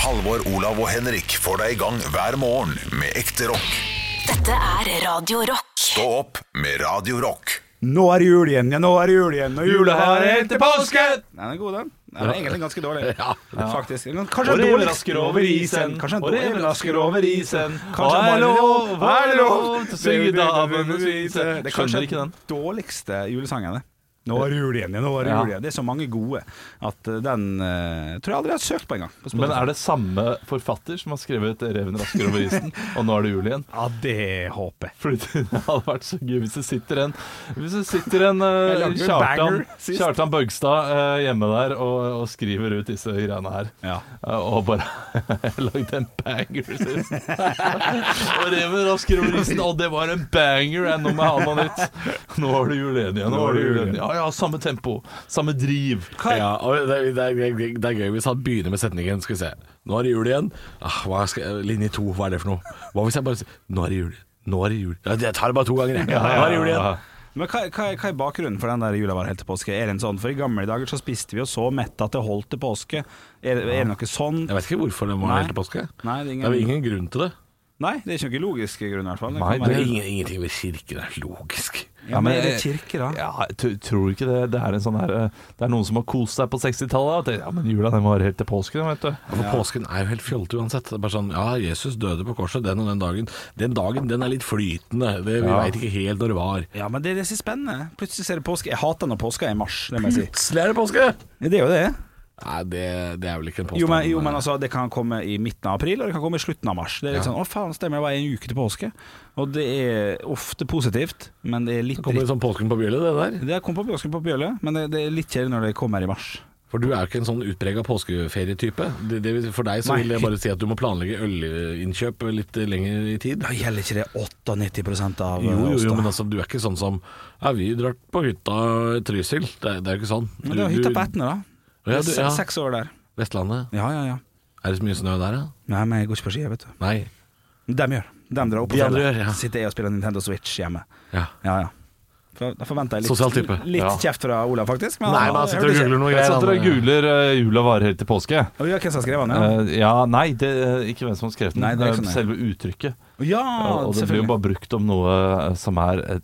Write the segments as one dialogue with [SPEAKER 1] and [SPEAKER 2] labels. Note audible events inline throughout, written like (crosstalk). [SPEAKER 1] Halvor, Olav og Henrik får deg i gang hver morgen med ekte rock.
[SPEAKER 2] Dette er Radio Rock.
[SPEAKER 1] Stå opp med Radio Rock.
[SPEAKER 3] Nå er det jul igjen, ja, nå er det jul igjen. Og jula har
[SPEAKER 4] helt til påske!
[SPEAKER 3] Nei, den er god, den. Nei, Den er egentlig ganske dårlig.
[SPEAKER 4] (laughs) Ja.
[SPEAKER 3] Faktisk. Men Kanskje
[SPEAKER 4] Og
[SPEAKER 3] den
[SPEAKER 4] reven
[SPEAKER 3] dårligste-
[SPEAKER 4] rasker over isen,
[SPEAKER 3] Kanskje den
[SPEAKER 4] og reven
[SPEAKER 3] dårligste-
[SPEAKER 4] rasker over isen.
[SPEAKER 3] Kanskje
[SPEAKER 4] Hva
[SPEAKER 3] den
[SPEAKER 4] er
[SPEAKER 3] dårligste-
[SPEAKER 4] lov, hva er lov til å synge
[SPEAKER 3] Det er
[SPEAKER 4] damenes vise?
[SPEAKER 3] kanskje
[SPEAKER 4] Skjønner ikke den.
[SPEAKER 3] dårligste julesangene. Nå er det jul igjen, ja, nå er det jul
[SPEAKER 4] Ja.
[SPEAKER 3] igjen. Det er så mange gode at eh, den eh, tror jeg aldri jeg har søkt på engang.
[SPEAKER 4] Men er det samme forfatter som har skrevet 'Reven rasker over isen', og 'Nå er det jul igjen'?
[SPEAKER 3] Ja, det håper jeg.
[SPEAKER 4] Fordi det hadde vært så gøy hvis det sitter en Hvis det sitter en eh,
[SPEAKER 3] Jeg lagde jo
[SPEAKER 4] Kjartan,
[SPEAKER 3] banger sist.
[SPEAKER 4] Kjartan Bøgstad eh, hjemme der og, og skriver ut disse greiene her.
[SPEAKER 3] Ja.
[SPEAKER 4] Eh, og bare (laughs) Jeg lagde en banger sist. og reven rasker over isen, og det var en banger! Jeg, nå må jeg ha noe nytt. Nå er det jul igjen. Ja, nå er det jul igjen. Ja ja, samme tempo, samme driv.
[SPEAKER 5] (laughs) Ja, og det, det, det, det er gøy hvis han begynner med setningen Skal vi se Nå er det jul igjen ah, hva skal, Linje 2, hva er det for noe? Hva hvis jeg bare sier Nå er det jul Nå er det jul ja, Jeg tar det bare to ganger jeg. Nå er det jul igjen
[SPEAKER 3] Men hva, hva, hva er bakgrunnen for den der jula var helt til påske? Er det en sånn, for I gamle dager så spiste vi jo så mett at det holdt til påske. Er, det- er det noe sånn?
[SPEAKER 5] Jeg vet ikke hvorfor den var
[SPEAKER 3] Nei.
[SPEAKER 5] helt til påske
[SPEAKER 3] Nei, det er ingen-
[SPEAKER 5] vel ingen grunn til det
[SPEAKER 3] Nei, det er ikke noen logiske grunn i hvert fall. Det
[SPEAKER 4] Nei,
[SPEAKER 3] kan
[SPEAKER 5] Men
[SPEAKER 3] være-
[SPEAKER 5] ingen, ingenting ved kirken er logisk
[SPEAKER 3] ja, men er det
[SPEAKER 4] eh,
[SPEAKER 3] kirke, da?
[SPEAKER 4] Ja, jeg tr- tror du ikke det? Det er, en sånn her, eh, det er noen som har kost seg på 60-tallet. og tenkt, Ja, men jula den var helt til påske, den, vet du.
[SPEAKER 5] ja, For påsken er jo helt fjolt uansett Det er bare sånn Ja, Jesus døde på korset den og den dagen Den dagen, den er litt flytende det, Vi
[SPEAKER 4] Ja.
[SPEAKER 5] vet ikke helt når det var
[SPEAKER 3] Ja, men det, det er så spennende. Plutselig så er det påske. Jeg hater når påska er i mars, det må jeg si.
[SPEAKER 5] Plutselig er det påske
[SPEAKER 3] Ja, Det er jo det.
[SPEAKER 5] Nei, det, det er vel ikke en påstand
[SPEAKER 3] Jo men, jo, men altså, det kan komme i midten av april, og det kan komme i slutten av mars. Det er litt sånn, å faen, stemmer, det var en uke til påske. Og det er ofte positivt, men det er litt
[SPEAKER 5] Det kommer
[SPEAKER 3] dritt.
[SPEAKER 5] litt sånn påsken på bjølet det der
[SPEAKER 3] Det kom på påsken på Bjøle, men det, det er litt kjedelig når det kommer i mars.
[SPEAKER 5] For du er jo ikke en sånn utprega påskeferietype. Det, det, for deg så
[SPEAKER 3] Nei.
[SPEAKER 5] vil det bare si at du må planlegge ølinnkjøp litt lenger i tid.
[SPEAKER 3] Da gjelder ikke det 98 av eh,
[SPEAKER 5] Jo, jo,
[SPEAKER 3] oss,
[SPEAKER 5] jo,
[SPEAKER 3] da.
[SPEAKER 5] men altså, du er ikke sånn som Ja, vi drar på hytta i Trysil. Det, er- det er jo ikke sånn.
[SPEAKER 3] Men det var
[SPEAKER 5] Du-
[SPEAKER 3] hytta
[SPEAKER 5] du-
[SPEAKER 3] på Etne, da.
[SPEAKER 5] Ja,
[SPEAKER 3] Det
[SPEAKER 5] du,
[SPEAKER 3] er se-
[SPEAKER 5] ja.
[SPEAKER 3] Seks år der.
[SPEAKER 5] Vestlandet.
[SPEAKER 3] Ja, ja, ja.
[SPEAKER 5] Er det så mye snø der, ja?
[SPEAKER 3] Nei, men jeg går ikke på ski, vet du.
[SPEAKER 5] Nei.
[SPEAKER 3] Dem gjør. Dem drar opp på
[SPEAKER 5] De andre
[SPEAKER 3] fjellet.
[SPEAKER 5] gjør, ja.
[SPEAKER 3] Sitter jeg og spiller Nintendo Switch hjemme.
[SPEAKER 5] Ja.
[SPEAKER 3] Ja, ja. For, da forventer jeg litt,
[SPEAKER 5] Sosial type.
[SPEAKER 3] litt
[SPEAKER 4] Ja.
[SPEAKER 3] kjeft fra Olav, faktisk.
[SPEAKER 5] Nei, men han sitter og googler noe
[SPEAKER 4] Jeg satt der og
[SPEAKER 5] greier.
[SPEAKER 4] googler eh, 'jula varer helt til påske'.
[SPEAKER 3] og ja, Hvem som skrev han? Ja,
[SPEAKER 4] Eh, ja, nei, det, eh, ikke hvem som har skrevet den.
[SPEAKER 3] Nei, det er ikke
[SPEAKER 4] eh,
[SPEAKER 3] sånn,
[SPEAKER 4] Selve uttrykket.
[SPEAKER 3] ja
[SPEAKER 4] og og det blir jo
[SPEAKER 3] selvfølgelig.
[SPEAKER 4] bare brukt om noe eh, som er et,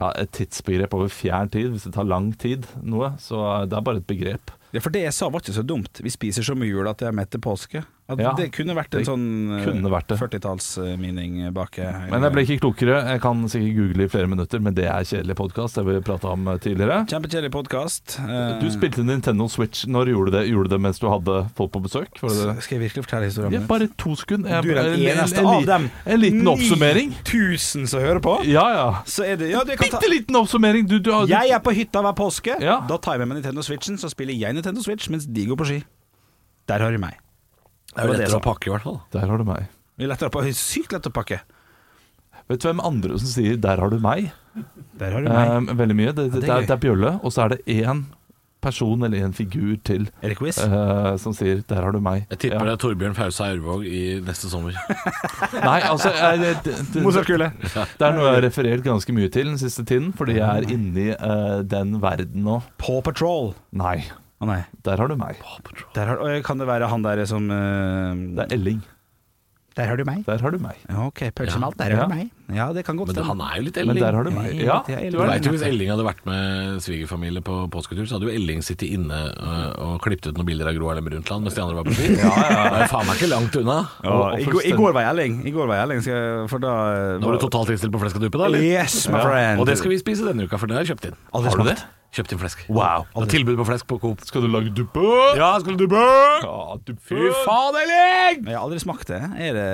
[SPEAKER 4] ja, et tidsbegrep over fjern tid. Hvis det tar lang tid, noe. Så eh, det er bare et begrep.
[SPEAKER 3] Ja, for det jeg sa var ikke så dumt. Vi spiser så mye jul at jeg er mett til påske. At
[SPEAKER 4] Ja,
[SPEAKER 3] det kunne vært en
[SPEAKER 4] det
[SPEAKER 3] sånn
[SPEAKER 4] kunne vært det.
[SPEAKER 3] 40-tallsmening bak eh,
[SPEAKER 4] Men jeg ble ikke klokere. Jeg kan sikkert google i flere minutter, men det er kjedelig podkast. Det har vi prata om eh, tidligere.
[SPEAKER 3] Kjempekjedelig Eh, podkast.
[SPEAKER 4] Du spilte Nintendo Switch. Når gjorde du det? Gjorde du det mens du hadde folk på besøk? Var det det?
[SPEAKER 3] Skal jeg virkelig fortelle historien
[SPEAKER 4] Ja,
[SPEAKER 3] min?
[SPEAKER 4] bare to sekunder. Jeg-
[SPEAKER 3] Du er den
[SPEAKER 4] en- en-
[SPEAKER 3] eneste
[SPEAKER 4] en li-
[SPEAKER 3] av dem.
[SPEAKER 4] En liten oppsummering.
[SPEAKER 3] 9000 som hører på.
[SPEAKER 4] Ja, ja.
[SPEAKER 3] Så er det Ja, det kan ta
[SPEAKER 4] Bitte liten oppsummering. Du, du, har- du,
[SPEAKER 3] Jeg er på hytta hver påske.
[SPEAKER 4] Ja.
[SPEAKER 3] Da tar jeg med meg Nintendo Switchen, så spiller jeg Nintendo Switch mens de går på ski. Der hører de meg.
[SPEAKER 5] Det er jo
[SPEAKER 3] var det
[SPEAKER 5] lettere
[SPEAKER 3] jeg
[SPEAKER 5] å pakke, i hvert fall.
[SPEAKER 4] Der har du meg.
[SPEAKER 3] Det er lettere å pakke- Sykt lett å pakke.
[SPEAKER 4] Vet du hvem andre som sier 'der har du meg'?
[SPEAKER 3] Der har du meg.
[SPEAKER 4] Eh, veldig mye. Det, det,
[SPEAKER 3] det
[SPEAKER 4] det,
[SPEAKER 3] er
[SPEAKER 4] er,
[SPEAKER 3] gøy.
[SPEAKER 4] det er Bjølle, og så er det én person eller én figur til
[SPEAKER 3] er det quiz?
[SPEAKER 4] eh, som sier 'der har du meg'.
[SPEAKER 5] Jeg tipper
[SPEAKER 4] ja.
[SPEAKER 5] det er Torbjørn Fausa Aurvåg i neste sommer.
[SPEAKER 4] (laughs) Nei, altså eh, det, det,
[SPEAKER 3] (laughs)
[SPEAKER 4] det,
[SPEAKER 3] Mozartkule.
[SPEAKER 4] det er noe jeg har referert ganske mye til den siste tiden, fordi jeg er inni eh, den verden nå.
[SPEAKER 3] Paw Patrol.
[SPEAKER 4] Nei,
[SPEAKER 3] Å nei.
[SPEAKER 4] der har du meg.
[SPEAKER 3] Der har, Oi, kan det være han der som eh,
[SPEAKER 4] Det er Elling.
[SPEAKER 3] Der har du meg.
[SPEAKER 4] Der har du meg.
[SPEAKER 3] Ja, OK, pølse med alt. Der
[SPEAKER 4] Ja.
[SPEAKER 3] har du meg. Ja, det kan godt
[SPEAKER 5] Men det, han er jo litt
[SPEAKER 4] Men
[SPEAKER 5] Elling.
[SPEAKER 4] der har du meg. Ja,
[SPEAKER 3] Jeg-
[SPEAKER 4] du
[SPEAKER 5] Du
[SPEAKER 4] er
[SPEAKER 5] vet jo Hvis Elling hadde vært med svigerfamilie på påsketur, så hadde jo Elling sittet inne øh, og klippet ut noen bilder av Gro Harlem Brundtland mens de andre var på
[SPEAKER 3] (laughs)
[SPEAKER 5] ski. Det er faen meg ikke langt unna.
[SPEAKER 4] Og-
[SPEAKER 3] Ja,
[SPEAKER 4] og
[SPEAKER 3] i, går, I
[SPEAKER 4] fullstendig-
[SPEAKER 3] går var jeg Elling, I går var jeg Elling, skal jeg- for da eh,
[SPEAKER 5] Nå var du totalt innstilt på fleskaduppe, da? eller?
[SPEAKER 3] Yes, my friend.
[SPEAKER 5] Og det skal vi spise denne uka, for det har jeg kjøpt inn.
[SPEAKER 3] Aldri
[SPEAKER 5] har du det?
[SPEAKER 3] smakt.
[SPEAKER 5] Kjøpt inn flesk.
[SPEAKER 4] Wow.
[SPEAKER 5] Det er tilbud på flesk på Coop.
[SPEAKER 4] Skal du lage duppe?
[SPEAKER 5] Ja, skal du bø?
[SPEAKER 4] Ja, duppe.
[SPEAKER 5] Fy faen, Elling!
[SPEAKER 3] Men jeg har aldri smakt det. Er det,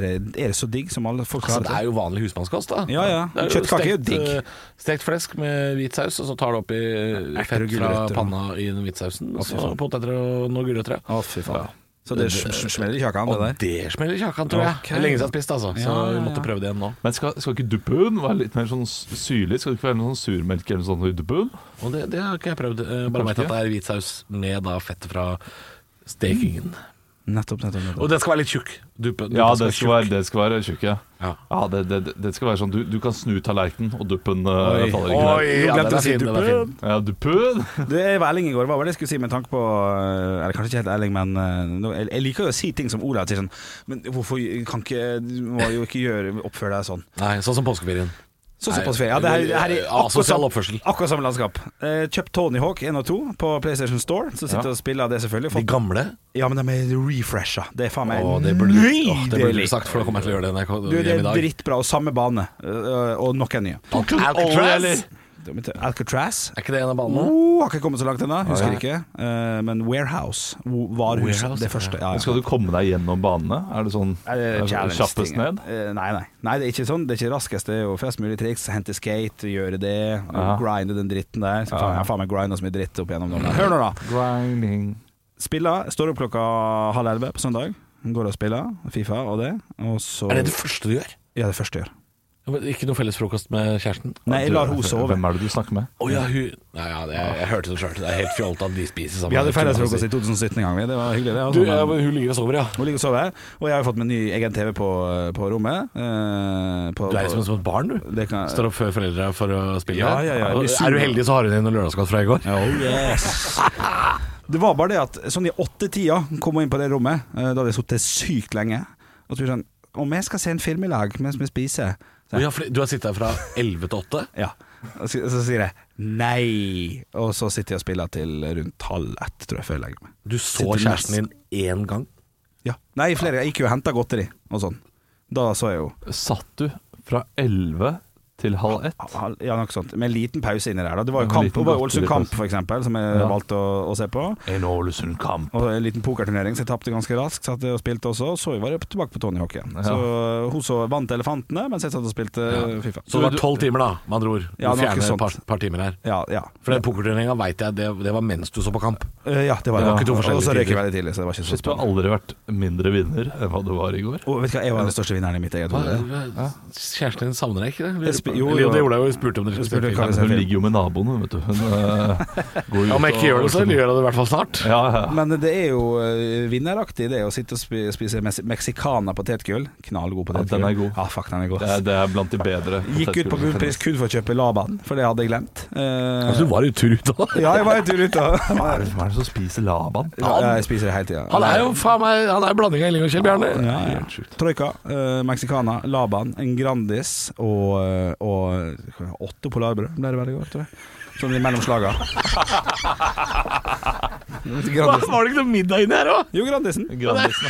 [SPEAKER 3] er det, er det så digg som alle folk har
[SPEAKER 5] Altså, det er jo vanlig husmannskost, da.
[SPEAKER 3] Ja, ja.
[SPEAKER 5] Det jo
[SPEAKER 3] Kjøttkake er jo
[SPEAKER 5] stekt,
[SPEAKER 3] digg.
[SPEAKER 5] eh, Stekt flesk med hvit saus, og så tar du oppi eh,
[SPEAKER 3] Erter og
[SPEAKER 5] fett fra
[SPEAKER 3] gulrøtter, da.
[SPEAKER 5] panna i den hvitsausen. Og så
[SPEAKER 3] faen.
[SPEAKER 5] poteter og noen gulrøtter. ja.
[SPEAKER 3] Å, fy faen. Så det sm- sm- smeller i kjakan, det
[SPEAKER 5] Og
[SPEAKER 3] der.
[SPEAKER 5] det smeller i kjakan, tror jeg.
[SPEAKER 3] Ok.
[SPEAKER 5] Det er lenge siden jeg har spist, altså. Så
[SPEAKER 3] Ja, ja, ja.
[SPEAKER 5] vi måtte prøve det igjen nå.
[SPEAKER 4] Men skal, skal ikke duppen være litt mer sånn s- syrlig? Skal det ikke være noe sånn surmelk eller noe sånt i duppen?
[SPEAKER 5] Og det, det har ikke jeg prøvd. eh, Bare
[SPEAKER 4] Kanskje
[SPEAKER 5] veit at det er hvit saus med da fettet fra stekingen.
[SPEAKER 3] Nettopp, nettopp. nettopp.
[SPEAKER 5] Og den skal være litt tjukk. Duppe,
[SPEAKER 4] Ja, det skal være, det skal være tjukk, ja.
[SPEAKER 5] Ja.
[SPEAKER 4] ja det, det, det skal være sånn du, du kan snu tallerkenen, og duppen eh, faller ikke
[SPEAKER 5] Oi,
[SPEAKER 3] Nå
[SPEAKER 4] ned.
[SPEAKER 5] ja,
[SPEAKER 3] glemte jeg
[SPEAKER 5] den
[SPEAKER 3] å
[SPEAKER 5] er
[SPEAKER 3] si
[SPEAKER 5] fin. Den er fin.
[SPEAKER 3] duppen.
[SPEAKER 4] Ja, duppen!
[SPEAKER 3] Det er Erling i går, var vel det jeg skulle si med tanke på eh, Eller kanskje ikke helt Erling, men eh, nå- jeg jeg liker jo å si ting som Olav sier sånn Men hvorfor kan ikke Du må jo ikke gjøre, oppføre deg sånn.
[SPEAKER 5] Nei, sånn som påskeferien.
[SPEAKER 3] Sånn
[SPEAKER 5] Nei, eh,
[SPEAKER 3] som på ferie. Ja, det her, det her er akkurat
[SPEAKER 5] asosial
[SPEAKER 3] samme-
[SPEAKER 5] oppførsel.
[SPEAKER 3] Akkurat samme landskap. Eh, Kjøpt Tony Hawk 1 og 2 på PlayStation Store. Så sitter
[SPEAKER 4] Ja.
[SPEAKER 3] og spiller det, selvfølgelig.
[SPEAKER 5] De
[SPEAKER 3] Fått,
[SPEAKER 5] gamle.
[SPEAKER 3] ja, men de er refresha. Det er faen meg
[SPEAKER 5] Å, det burde du
[SPEAKER 3] nydelig!
[SPEAKER 5] Åh, det burde du sagt, for da kommer jeg til å gjøre det når jeg
[SPEAKER 3] Du,
[SPEAKER 5] kommer
[SPEAKER 3] det er
[SPEAKER 5] hjem i dag.
[SPEAKER 3] drittbra, og samme bane, øh, og nok en ny.
[SPEAKER 5] Alcatraz!
[SPEAKER 3] Alcatraz.
[SPEAKER 5] Er ikke det en av banene?
[SPEAKER 3] Oh, har ikke kommet så langt ennå, husker ikke. Eh, men Warehouse, wo- varhuset,
[SPEAKER 5] Warehouse,
[SPEAKER 3] det første. Ja, ja.
[SPEAKER 4] Men Skal du komme deg gjennom banene? Er det sånn
[SPEAKER 3] Er det
[SPEAKER 4] er det sånn
[SPEAKER 3] challenge-ting?
[SPEAKER 4] kjappest ned?
[SPEAKER 3] Eh, nei, nei. nei, det er ikke sånn. Det er ikke raskest. Det er jo flest mulig triks. Hente skate, gjøre det,
[SPEAKER 4] Ja.
[SPEAKER 3] grinde den dritten der. Så faen, jeg har faen meg grinda så mye dritt opp igjennom nå. men Hør nå, da.
[SPEAKER 4] Grinding.
[SPEAKER 3] Spiller. Står opp klokka halv elleve på søndag. Går og spiller Fifa og det. Og så
[SPEAKER 5] Er det det første du gjør?
[SPEAKER 3] Ja, det første jeg gjør.
[SPEAKER 5] Ja, men Ikke noe felles frokost med kjæresten?
[SPEAKER 3] Nei, jeg lar hun
[SPEAKER 4] (laughs)
[SPEAKER 3] sove.
[SPEAKER 4] Hvem er det du snakker med?
[SPEAKER 5] Å ja, hun Nei, ja, det, jeg hørte det sjøl. Det er helt fjolt at de spiser sammen.
[SPEAKER 3] Vi hadde
[SPEAKER 5] Det kunne
[SPEAKER 3] felles
[SPEAKER 5] man
[SPEAKER 3] frokost i 2017 en gang, vi. Det var hyggelig, det.
[SPEAKER 5] si.
[SPEAKER 3] Altså. men-
[SPEAKER 5] Du, ja, sånn, men hun ligger og sover, ja.
[SPEAKER 3] Hun ligger og sover, og jeg har jo fått min ny egen TV på, på rommet. eh, på,
[SPEAKER 5] Du er liksom
[SPEAKER 3] på-
[SPEAKER 5] som et barn, du.
[SPEAKER 3] det kan,
[SPEAKER 5] Står opp før foreldra for å spille.
[SPEAKER 3] Ja, ja, ja.
[SPEAKER 5] Og Er du heldig, så har hun en lørdagsskatt fra i går.
[SPEAKER 3] Oh
[SPEAKER 5] (laughs)
[SPEAKER 3] yes Det var bare det at sånn i åtte-tida kom hun inn på det rommet. eh, Da hadde jeg sittet sykt lenge. Og så tror jeg sånn Om jeg skal se en film i lag mens vi spiser? Så,
[SPEAKER 5] Å
[SPEAKER 3] jeg,
[SPEAKER 5] Ja, for du har sittet her fra 11 til 8.
[SPEAKER 3] ja. Og så, så sier jeg nei. Og så sitter jeg og spiller til rundt halv ett, tror jeg, før jeg legger meg.
[SPEAKER 5] Du så
[SPEAKER 3] Sitter mest-
[SPEAKER 5] kjæresten din én gang.
[SPEAKER 3] Ja. Nei, flere. Jeg gikk jo og henta godteri og sånn. Da så jeg jo
[SPEAKER 4] Satt du fra 11 til halv ett?
[SPEAKER 3] Hal- Ja, noe sånt. Med en liten pause inni der. Da. Det var jo
[SPEAKER 4] Med en
[SPEAKER 3] kamp,
[SPEAKER 4] liten
[SPEAKER 3] det var jo
[SPEAKER 4] godteri
[SPEAKER 3] Ålesund Kamp,
[SPEAKER 4] pause.
[SPEAKER 3] for eksempel, som jeg
[SPEAKER 4] Ja.
[SPEAKER 3] valgte å, å se på.
[SPEAKER 4] En Ålesund-kamp.
[SPEAKER 3] Og en liten pokerturnering, så jeg tapte ganske raskt. Satt og spilte også, og så var jeg tilbake på Tony Hawk igjen.
[SPEAKER 4] Ja.
[SPEAKER 3] Så eh, hun så vant Elefantene, mens jeg satt og spilte Fifa.
[SPEAKER 5] Så det var tolv timer, da, med andre ord. Du
[SPEAKER 3] Ja, noe
[SPEAKER 5] fjerner
[SPEAKER 3] sånt.
[SPEAKER 5] et par, par timer her.
[SPEAKER 3] Ja, ja.
[SPEAKER 5] For den pokerturneringa veit jeg, det, det var mens du så på kamp.
[SPEAKER 3] Eh, ja, det var det.
[SPEAKER 4] Det var ikke to
[SPEAKER 3] og
[SPEAKER 5] forskjellige
[SPEAKER 3] så røyk jeg
[SPEAKER 5] tider.
[SPEAKER 3] veldig tidlig, så det var ikke så
[SPEAKER 4] Shit, du har
[SPEAKER 3] spennende.
[SPEAKER 4] aldri vært mindre vinner enn hva du var i går.
[SPEAKER 3] Og vet du hva, jeg var den største vinneren i mitt eget hode.
[SPEAKER 5] Kjæresten din savner deg ikke?
[SPEAKER 3] Jeg
[SPEAKER 5] det?
[SPEAKER 3] sp-
[SPEAKER 5] Lurer
[SPEAKER 3] jo,
[SPEAKER 5] på- Eller,
[SPEAKER 3] jo.
[SPEAKER 5] det gjorde jeg jo, jeg spurte om dere
[SPEAKER 3] Jeg
[SPEAKER 5] skulle
[SPEAKER 3] spurte
[SPEAKER 5] spille
[SPEAKER 3] hva vi
[SPEAKER 4] Men
[SPEAKER 5] film.
[SPEAKER 3] ser
[SPEAKER 4] hun
[SPEAKER 3] film.
[SPEAKER 4] ligger jo med naboen, vet du. Hun eh, går ut
[SPEAKER 5] Ja, Om jeg ikke
[SPEAKER 4] og-
[SPEAKER 5] gjør det, så gjør jeg det i hvert fall snart.
[SPEAKER 4] Ja, ja. ja.
[SPEAKER 3] Men det er jo eh, vinneraktig, det å sitte og spi- spise mes- mexicana potetgull. Knallgod potetgull.
[SPEAKER 4] den er god.
[SPEAKER 3] Ja, fuck, den er god.
[SPEAKER 4] Det er, det er blant de bedre.
[SPEAKER 3] Gikk ut på bunnpris kun for å kjøpe Laban, for det hadde jeg glemt. Eh,
[SPEAKER 5] Altså, du var jo tur ut av det.
[SPEAKER 3] ja, jeg var en tur ute.
[SPEAKER 4] Hva er det som er det som spiser Laban?
[SPEAKER 3] Ja, jeg spiser det hele tida.
[SPEAKER 5] Han er jo faen meg Han er jo blanding av Elling og Kjell Bjarne.
[SPEAKER 3] ja, ja.
[SPEAKER 4] Helt sjukt.
[SPEAKER 3] Troika, eh, Mexicana, Laban, en Grandis og, eh, og åtte polarbrød ble det vel i går, tror jeg. Sånn i mellom
[SPEAKER 5] (laughs)
[SPEAKER 3] slaga.
[SPEAKER 5] Hva,
[SPEAKER 3] Grandisen.
[SPEAKER 5] Var det ikke noe middag inni her òg?
[SPEAKER 3] Jo, Grandisen.
[SPEAKER 4] Grandisen,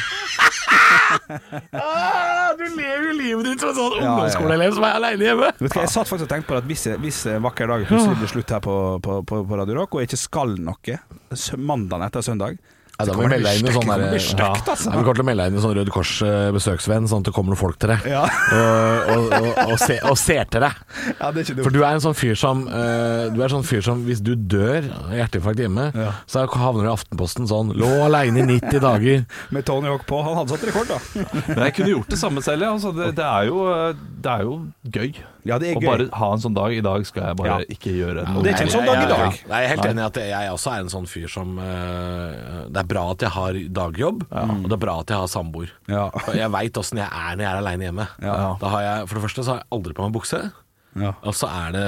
[SPEAKER 5] Ah, du lever jo livet ditt som en sånn
[SPEAKER 3] ja.
[SPEAKER 5] ungdomsskoleelev som er aleine hjemme.
[SPEAKER 3] Vet du hva, Jeg satt faktisk og tenkte på det at hvis, jeg- hvis en vakker dag plutselig blir slutt her på, på, på, på Radio Rock, og jeg ikke skal noe sø- mandagen etter søndag
[SPEAKER 5] Ja,
[SPEAKER 3] så
[SPEAKER 5] da må
[SPEAKER 3] kommer
[SPEAKER 5] du
[SPEAKER 3] det
[SPEAKER 5] melde deg
[SPEAKER 3] bli
[SPEAKER 5] inn i
[SPEAKER 3] stygt, det
[SPEAKER 5] sånn der,
[SPEAKER 3] kommer bli stygt,
[SPEAKER 5] ja.
[SPEAKER 3] altså.
[SPEAKER 5] Nei, Du kommer til å melde deg inn i sånn Røde Kors eh, besøksvenn, sånn at det kommer noen folk til deg.
[SPEAKER 3] Ja.
[SPEAKER 5] Og, og, og, og, se, og ser til deg.
[SPEAKER 3] Ja, (laughs) det er ikke
[SPEAKER 5] For du er en sånn fyr som eh, Du er sånn fyr som hvis du dør av hjerteinfarkt hjemme,
[SPEAKER 3] Ja.
[SPEAKER 5] så havner du i Aftenposten sånn Lå aleine i 90 dager.
[SPEAKER 3] Med Tony Hawk på. Han hadde satt rekord, da.
[SPEAKER 4] Men jeg kunne gjort det samme selv. Ja. Altså, det, det, er jo, det er jo gøy.
[SPEAKER 3] Ja, det er
[SPEAKER 4] Å
[SPEAKER 3] gøy.
[SPEAKER 4] bare ha en sånn dag. I dag skal jeg
[SPEAKER 3] Ja.
[SPEAKER 4] bare ikke gjøre
[SPEAKER 3] og (laughs)
[SPEAKER 4] noe.
[SPEAKER 3] det er ikke en sånn dag i dag.
[SPEAKER 5] Nei, jeg er helt enig i at jeg også er en sånn fyr som eh, Det er bra at jeg har dagjobb, og det er bra at jeg har samboer.
[SPEAKER 3] Ja.
[SPEAKER 5] For Jeg veit åssen jeg er når jeg er aleine hjemme.
[SPEAKER 3] Ja.
[SPEAKER 5] Da har jeg, for det første så har jeg aldri på meg bukse.
[SPEAKER 3] Ja.
[SPEAKER 5] Og så er det,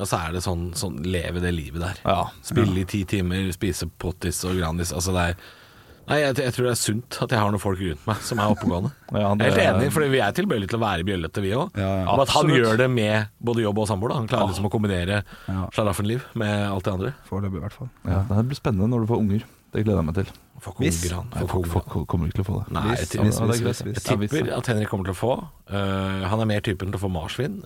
[SPEAKER 5] og så er det sånn, sånn Leve det livet der.
[SPEAKER 4] Ja.
[SPEAKER 5] Spille i ti timer, spise pottis og Grandis. Altså det er Nei, jeg, jeg tror det er sunt at jeg har noen folk rundt meg som er oppegående.
[SPEAKER 4] Ja, det-
[SPEAKER 5] jeg er helt enig, for vi er tilbøyelige til å være bjøllete, vi òg.
[SPEAKER 3] Ja, ja.
[SPEAKER 5] Men at han
[SPEAKER 4] Absolutt.
[SPEAKER 5] gjør det med både jobb og samboer. da. Han klarer liksom å kombinere slaraffenliv med alt det andre.
[SPEAKER 3] Foreløpig, i hvert fall.
[SPEAKER 4] Ja, det blir spennende når du får unger. Det gleder jeg meg til.
[SPEAKER 5] Fuck
[SPEAKER 3] Hvis-
[SPEAKER 5] unger, han.
[SPEAKER 4] Nei,
[SPEAKER 5] Fuck
[SPEAKER 4] folk,
[SPEAKER 5] unger.
[SPEAKER 4] folk kommer ikke til å få det.
[SPEAKER 5] Nei,
[SPEAKER 4] Ja,
[SPEAKER 5] jeg
[SPEAKER 4] ja,
[SPEAKER 5] tipper-
[SPEAKER 4] det er greit.
[SPEAKER 3] hvis- hvis- hvis.
[SPEAKER 5] Jeg
[SPEAKER 4] Ja, hvis-
[SPEAKER 5] tipper at Henrik kommer til å få øh, Han er mer typen til å få marsvin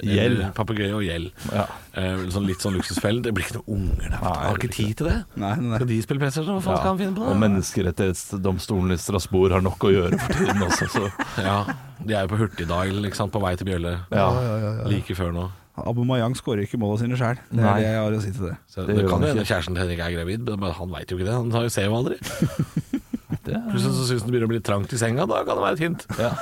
[SPEAKER 4] Ja. Gjell.
[SPEAKER 5] eller papegøye og gjell.
[SPEAKER 4] Ja.
[SPEAKER 5] Eh, sånn litt sånn luksusfelle. Det blir ikke noen unger der. vet du.
[SPEAKER 4] Nei,
[SPEAKER 5] Han har
[SPEAKER 4] det
[SPEAKER 5] ikke tid til det.
[SPEAKER 3] Nei, nei.
[SPEAKER 5] Skal de spille PlayStation? Hva faen skal han finne på?
[SPEAKER 4] Og menneskerettighetsdomstolen i Strasbourg har nok å gjøre for tiden også, så
[SPEAKER 5] Ja, De er jo på hurtigdial ikke sant? på vei til Bjølle
[SPEAKER 4] ja.
[SPEAKER 5] like før nå.
[SPEAKER 3] Abu Mayang skårer ikke målene sine sjøl. Det er
[SPEAKER 4] Nei.
[SPEAKER 3] det jeg har å si til det.
[SPEAKER 5] Så
[SPEAKER 4] Det
[SPEAKER 5] det,
[SPEAKER 4] gjør
[SPEAKER 5] kan
[SPEAKER 4] han
[SPEAKER 5] jo hende kjæresten til Henrik er gravid, men men han veit jo ikke det. Han har jo- ser jo aldri.
[SPEAKER 4] (laughs) Det er-
[SPEAKER 5] Plutselig så syns han det begynner å bli trangt i senga, da kan det være et hint.
[SPEAKER 4] ja.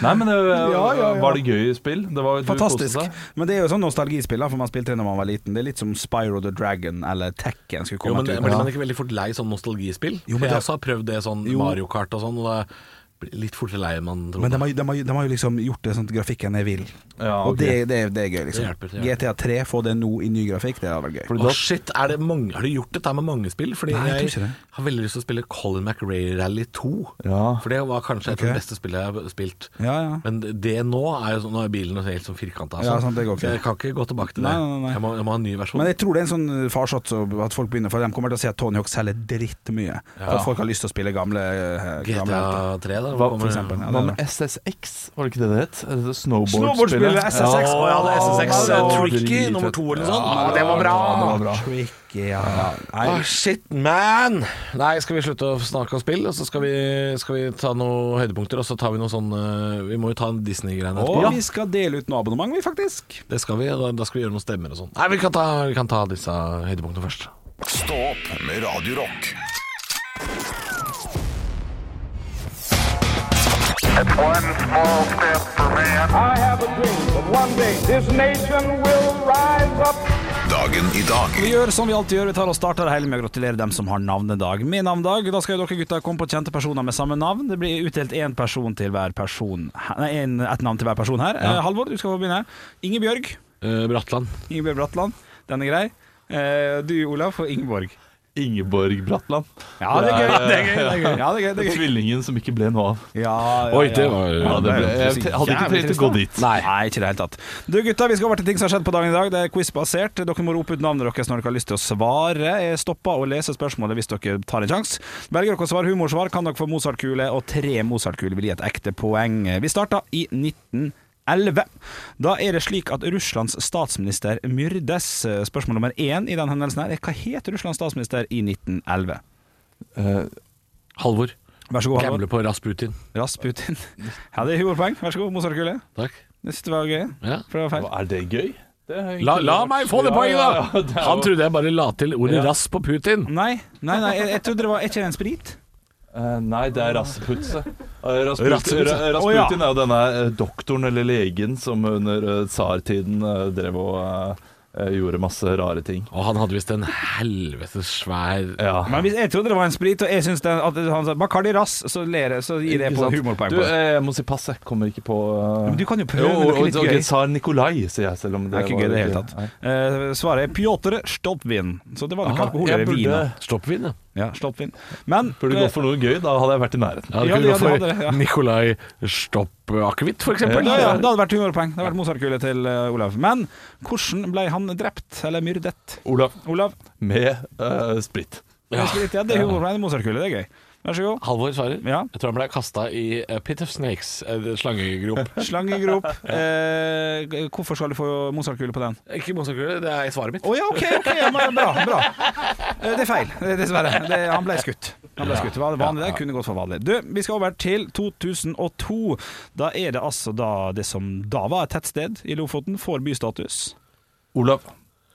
[SPEAKER 4] Nei, men det
[SPEAKER 3] Ja,
[SPEAKER 4] eh,
[SPEAKER 3] ja, ja.
[SPEAKER 4] var det gøy spill. Det var, du
[SPEAKER 3] Fantastisk.
[SPEAKER 4] koste deg.
[SPEAKER 3] Men det er jo sånn nostalgispill, da, for man spilte det når man var liten. Det er litt som Spyro the Dragon eller Tekken skulle
[SPEAKER 5] Jo,
[SPEAKER 3] komme
[SPEAKER 5] men
[SPEAKER 3] til.
[SPEAKER 5] blir man ikke veldig fort lei sånn nostalgispill?
[SPEAKER 3] Jo, men
[SPEAKER 5] For jeg
[SPEAKER 3] det-
[SPEAKER 5] også har prøvd det sånn
[SPEAKER 3] Jo.
[SPEAKER 5] Mario Kart og sånn, og det blir litt fortere lei enn man tror.
[SPEAKER 3] Men de har, de, har, de har jo liksom gjort det sånn at grafikken er vill.
[SPEAKER 4] Ja,
[SPEAKER 3] Og
[SPEAKER 4] ok.
[SPEAKER 3] det, det, det er gøy, liksom.
[SPEAKER 5] Det hjelper, det hjelper.
[SPEAKER 3] GTA 3, få det nå i ny grafikk, det hadde vært gøy.
[SPEAKER 4] Fordi
[SPEAKER 5] Å
[SPEAKER 4] da-
[SPEAKER 5] shit, er det mange, har du gjort dette med mange spill? Fordi
[SPEAKER 3] Nei, jeg tror
[SPEAKER 5] jeg,
[SPEAKER 3] ikke det.
[SPEAKER 5] har veldig lyst til å spille Colin McRae Rally 2.
[SPEAKER 4] Ja.
[SPEAKER 5] For det var kanskje et
[SPEAKER 3] Ok.
[SPEAKER 5] av de beste spillene jeg har spilt.
[SPEAKER 3] Ja, ja.
[SPEAKER 5] Men det nå er jo sånn, nå er bilen helt sånn firkanta.
[SPEAKER 3] Ja, sant, det går ikke.
[SPEAKER 5] Så jeg kan ikke gå tilbake til det.
[SPEAKER 3] Nei, nei, nei.
[SPEAKER 5] Jeg, må, jeg må ha en ny versjon.
[SPEAKER 3] Men jeg tror det er en sånn farsott så at folk begynner, for de kommer til å si at Tony Hawk selger drittmye. For at folk har lyst til å spille gamle, eh, gamle helter.
[SPEAKER 5] GTA 3, da.
[SPEAKER 4] Hva-
[SPEAKER 5] kommer-
[SPEAKER 3] For eksempel. Ja,
[SPEAKER 4] Hva
[SPEAKER 3] det
[SPEAKER 4] med
[SPEAKER 3] er det.
[SPEAKER 4] SSX, var det ikke det det het? Er det Snowboard
[SPEAKER 3] Snowboardspillet SSX.
[SPEAKER 5] Å ja, det er
[SPEAKER 3] eh,
[SPEAKER 5] SSX
[SPEAKER 4] Ja, det var
[SPEAKER 5] Tricky
[SPEAKER 4] dritfett.
[SPEAKER 5] nummer to eller noe sånt.
[SPEAKER 4] Ja,
[SPEAKER 5] Å, det var bra!
[SPEAKER 4] Ja, det var bra.
[SPEAKER 3] Tricky, ja. Nei,
[SPEAKER 5] Ah, shit, man! Nei, skal vi slutte å snakke om spill, og så skal vi, skal vi ta noen høydepunkter, og så tar vi noe sånn eh, Vi må jo ta en Disney-greie
[SPEAKER 3] Og
[SPEAKER 5] etterpå.
[SPEAKER 3] vi skal dele ut noe abonnement, vi, faktisk.
[SPEAKER 5] Det skal vi, og da, da skal vi gjøre noen stemmer og sånn. Nei, vi kan, ta, vi kan ta disse høydepunktene først.
[SPEAKER 1] Stå opp med Radio Rock.
[SPEAKER 6] It's one small step for man.
[SPEAKER 7] I have a dream that one day this nation will rise up.
[SPEAKER 1] Dagen i dag
[SPEAKER 3] Vi gjør som vi alltid gjør, vi tar og starter det hele med å gratulere dem som har navnedag. Med navnedag, da skal jo dere gutta komme på kjente personer med samme navn. Det blir utdelt én person til hver person Nei, en, et navn til hver person her. Eh, Halvor, du skal få begynne. Ingebjørg.
[SPEAKER 5] Eh, Bratland.
[SPEAKER 3] Ingebjørg Bratland. Den er grei. Eh, du, Olaf, og Ingeborg.
[SPEAKER 4] Ingeborg Bratland.
[SPEAKER 3] Ja, det er gøy.
[SPEAKER 4] Det
[SPEAKER 3] Det er gøy. Det er gøy. Ja, det er gøy, det er gøy.
[SPEAKER 4] Tvillingen som ikke ble noe av.
[SPEAKER 3] Ja, ja,
[SPEAKER 5] Oi, det var
[SPEAKER 4] Ja, det ble,
[SPEAKER 3] er
[SPEAKER 4] jeg
[SPEAKER 3] jo
[SPEAKER 4] hadde ikke
[SPEAKER 3] jævlig
[SPEAKER 4] trengt å
[SPEAKER 3] trist,
[SPEAKER 4] gå
[SPEAKER 3] da.
[SPEAKER 4] dit.
[SPEAKER 3] Nei. ikke i det hele tatt. Du gutta, vi skal over til ting som har skjedd på dagen i dag. Det er quiz-basert. Dere må rope ut navnet deres når dere har lyst til å svare. Jeg stopper å lese spørsmålet hvis dere tar en sjanse. Velger dere å svare humorsvar, kan dere få Mozart-kule, og tre Mozart-kuler vil gi et ekte poeng. Vi starter i 1911. Da er det slik at Russlands statsminister myrdes. eh, Spørsmål nummer én i den hendelsen her er hva het Russlands statsminister i 1911?
[SPEAKER 4] Eh,
[SPEAKER 5] Halvor.
[SPEAKER 3] Vær så god, Halvor.
[SPEAKER 5] Gamle på Rasputin.
[SPEAKER 3] Rasputin. Ja, det er humorpoeng. Vær så god, Mozart-kule.
[SPEAKER 5] Takk.
[SPEAKER 3] Det synes det var gøy.
[SPEAKER 5] Ja.
[SPEAKER 3] For det var feil.
[SPEAKER 4] er det gøy? Det har jeg ikke
[SPEAKER 5] La, la
[SPEAKER 4] hørt.
[SPEAKER 5] meg få det
[SPEAKER 4] Ja,
[SPEAKER 5] poenget,
[SPEAKER 4] ja, ja, det
[SPEAKER 5] da!
[SPEAKER 4] er
[SPEAKER 5] Han
[SPEAKER 4] jo-
[SPEAKER 5] trodde jeg bare la til ordet rass på Putin.
[SPEAKER 3] Nei, nei, nei jeg, jeg trodde det var Er ikke det en sprit?
[SPEAKER 4] Eh, nei, det er Rasputse. Eh, Rasput-
[SPEAKER 5] Rasputse.
[SPEAKER 4] Ra-
[SPEAKER 3] Å, ja.
[SPEAKER 4] Rasputin er jo denne eh, doktoren eller legen som under eh, tsartiden eh, drev og eh, eh, gjorde masse rare ting.
[SPEAKER 5] Og han hadde visst en helvetes svær eh,
[SPEAKER 4] Ja.
[SPEAKER 3] Men hvis jeg trodde det var en sprit, og jeg syns den at han sa Bacardi Rass, så ler jeg, så gir jeg
[SPEAKER 4] Ikke
[SPEAKER 3] på
[SPEAKER 4] sant?
[SPEAKER 3] humorpoeng
[SPEAKER 4] Du,
[SPEAKER 3] på det.
[SPEAKER 4] eh, jeg må si pass, jeg kommer ikke på eh,
[SPEAKER 3] Men du kan jo prøve, det er ikke litt
[SPEAKER 4] ok,
[SPEAKER 3] gøy.
[SPEAKER 4] Tsar Nikolai, sier jeg, selv om det,
[SPEAKER 3] Det er ikke
[SPEAKER 4] var
[SPEAKER 3] gøy i det hele
[SPEAKER 4] ikke-
[SPEAKER 3] tatt.
[SPEAKER 4] Nei.
[SPEAKER 3] Eh, svaret er Pjotr Stolpvin. Så det var nok
[SPEAKER 4] Ah,
[SPEAKER 3] alkohol
[SPEAKER 4] jeg
[SPEAKER 3] eller vin.
[SPEAKER 4] burde-
[SPEAKER 3] da.
[SPEAKER 5] stoppvin, ja.
[SPEAKER 3] Ja, Stolpvin. Men
[SPEAKER 4] Burde gå for noe gøy, da hadde jeg vært i nærheten.
[SPEAKER 5] Ja, du
[SPEAKER 3] Ja,
[SPEAKER 5] kunne
[SPEAKER 3] de-
[SPEAKER 5] gå
[SPEAKER 3] ja, de
[SPEAKER 5] for
[SPEAKER 3] hadde det, ja.
[SPEAKER 5] Nikolai Stopp akevitt, for eksempel.
[SPEAKER 3] eh, ja, ja, det hadde vært humorpoeng. Det hadde vært Mozart-kule til eh, Olav. Men hvordan ble han drept, eller myrdet?
[SPEAKER 4] Olav,
[SPEAKER 3] Olav?
[SPEAKER 4] med eh, sprit.
[SPEAKER 3] Ja. Ja, det er humorpoeng, det er Mozart-kule, det er gøy. Vær så god.
[SPEAKER 5] Halvor svarer.
[SPEAKER 3] Ja.
[SPEAKER 5] Jeg tror han ble kasta i eh, Pit of Snakes, eh, slangegrop.
[SPEAKER 3] (laughs) Slangegrop. Eh, g- hvorfor skal du få Mozart-kule på den?
[SPEAKER 5] (laughs) Ikke monsterkule, det er svaret mitt.
[SPEAKER 3] Å ja, ok, ok, ja, men bra. bra Eh, Det er feil, eh, dessverre. Det, han ble skutt. Han ble skutt. Det var vanlig, det kunne gått for vanlig. Du, vi skal over til 2002. Da er det altså da det som da var et tettsted i Lofoten, får bystatus.
[SPEAKER 4] Olav,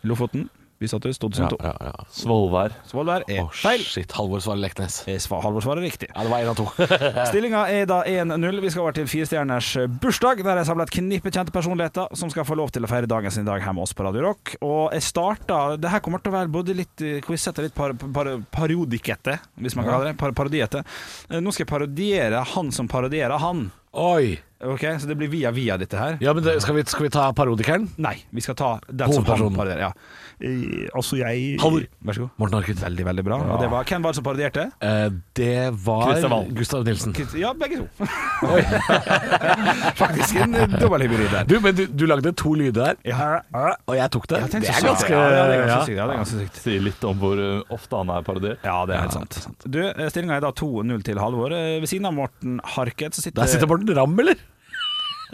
[SPEAKER 3] Lofoten, bystatus 2002.
[SPEAKER 5] Ja, ja, ja.
[SPEAKER 4] Svolvær.
[SPEAKER 3] Svolvær er
[SPEAKER 5] Å,
[SPEAKER 3] feil.
[SPEAKER 5] shit. Halvor svarer Leknes.
[SPEAKER 3] Eh, svar- Halvor svarer riktig.
[SPEAKER 5] Ja, det var én (laughs) av to.
[SPEAKER 3] Stillinga er da 1-0. Vi skal over til firestjerners bursdag, der jeg samler et knippe kjente personligheter som skal få lov til å feire dagen sin i dag her med oss på Radio Rock. Og jeg starta Det her kommer til å være både litt eh, quizete og litt par, par, parodikete, hvis man kan kalle det. Par, parodiete. Eh, Nå skal jeg parodiere han som parodierer han.
[SPEAKER 5] Oi.
[SPEAKER 3] Ok, Så det blir via via, dette her.
[SPEAKER 5] Ja, men det, skal, vi, skal vi ta parodikeren?
[SPEAKER 3] Nei, vi skal ta den som han
[SPEAKER 5] Hovedpersonen.
[SPEAKER 3] parodierer. Ja. Eh, Altså jeg
[SPEAKER 5] Halvor.
[SPEAKER 3] Vær så god.
[SPEAKER 5] Morten Harket.
[SPEAKER 3] Veldig, veldig bra. Og det var, hvem var det som parodierte?
[SPEAKER 5] Eh, det var
[SPEAKER 4] Christian Valen.
[SPEAKER 5] Gustav Nilsen.
[SPEAKER 3] Ja, begge to. (laughs) Faktisk en eh, dobbel hybrid der.
[SPEAKER 5] Du, men du, du lagde to lyder her,
[SPEAKER 3] Ja.
[SPEAKER 5] og jeg tok det.
[SPEAKER 3] Ja, tenk
[SPEAKER 5] det
[SPEAKER 3] så
[SPEAKER 5] er
[SPEAKER 3] sykt.
[SPEAKER 5] ganske
[SPEAKER 3] ja, det er ganske
[SPEAKER 5] ja.
[SPEAKER 3] sykt. Ja, det er ganske sykt.
[SPEAKER 4] Sier litt om hvor eh, ofte han er parodiert.
[SPEAKER 3] Ja, det er helt sant. Du, Stillinga er da 2-0 til Halvor. Eh, Ved siden av Morten Harket så sitter
[SPEAKER 5] Der sitter Morten Ramm, eller?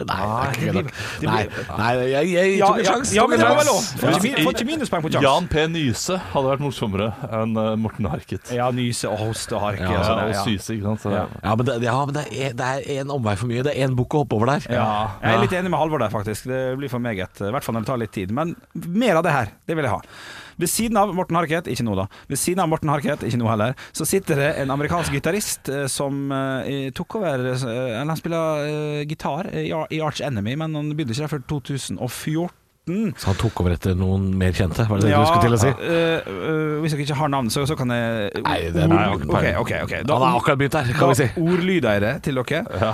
[SPEAKER 5] (laughs) Nei, det er ikke
[SPEAKER 3] Ah, det
[SPEAKER 5] gøy
[SPEAKER 3] blir-
[SPEAKER 5] nok.
[SPEAKER 3] det
[SPEAKER 5] Nei, nei, jeg, jeg
[SPEAKER 3] Ja,
[SPEAKER 5] tok en
[SPEAKER 3] ja,
[SPEAKER 5] sjanse.
[SPEAKER 3] ja,
[SPEAKER 5] tok
[SPEAKER 3] men
[SPEAKER 5] en
[SPEAKER 3] det må
[SPEAKER 5] sjanse.
[SPEAKER 3] være lov. Får ikke, min- får ikke minuspoeng på
[SPEAKER 4] Jan
[SPEAKER 3] sjanse.
[SPEAKER 4] P. Nyse hadde vært morsommere enn eh, Morten Harket.
[SPEAKER 3] Ja, nyse og hoste og harke.
[SPEAKER 5] Ja,
[SPEAKER 3] og
[SPEAKER 4] Ja,
[SPEAKER 3] sånn,
[SPEAKER 4] og
[SPEAKER 3] ja.
[SPEAKER 4] Syse, ikke sant. Så,
[SPEAKER 3] Ja.
[SPEAKER 5] Ja, men, det, ja, men det, er, det er en omvei for mye. Det er én bukk å hoppe over der.
[SPEAKER 3] Ja. Jeg er litt enig med Halvor der, faktisk. Det blir for meget. I hvert fall når det tar litt tid. Men mer av det her, det vil jeg ha. Ved siden av Morten Harket, ikke nå da, ved siden av Morten Harket, ikke nå heller, så sitter det en amerikansk gitarist eh, som eh, tok over eh, Eller han spiller eh, gitar i, Ar- i Arch Enemy, men han begynte ikke der før 2014.
[SPEAKER 5] Så han tok over etter noen mer kjente, var det det
[SPEAKER 3] Ja,
[SPEAKER 5] du skulle til å si?
[SPEAKER 3] eh, eh, hvis dere ikke har navn, så, så kan jeg
[SPEAKER 5] Nei, det er
[SPEAKER 3] Ord- Ok, ok, ok. Da-
[SPEAKER 5] Han har akkurat begynt her,
[SPEAKER 3] da
[SPEAKER 5] kan vi si.
[SPEAKER 3] ordlyder jeg det til dere.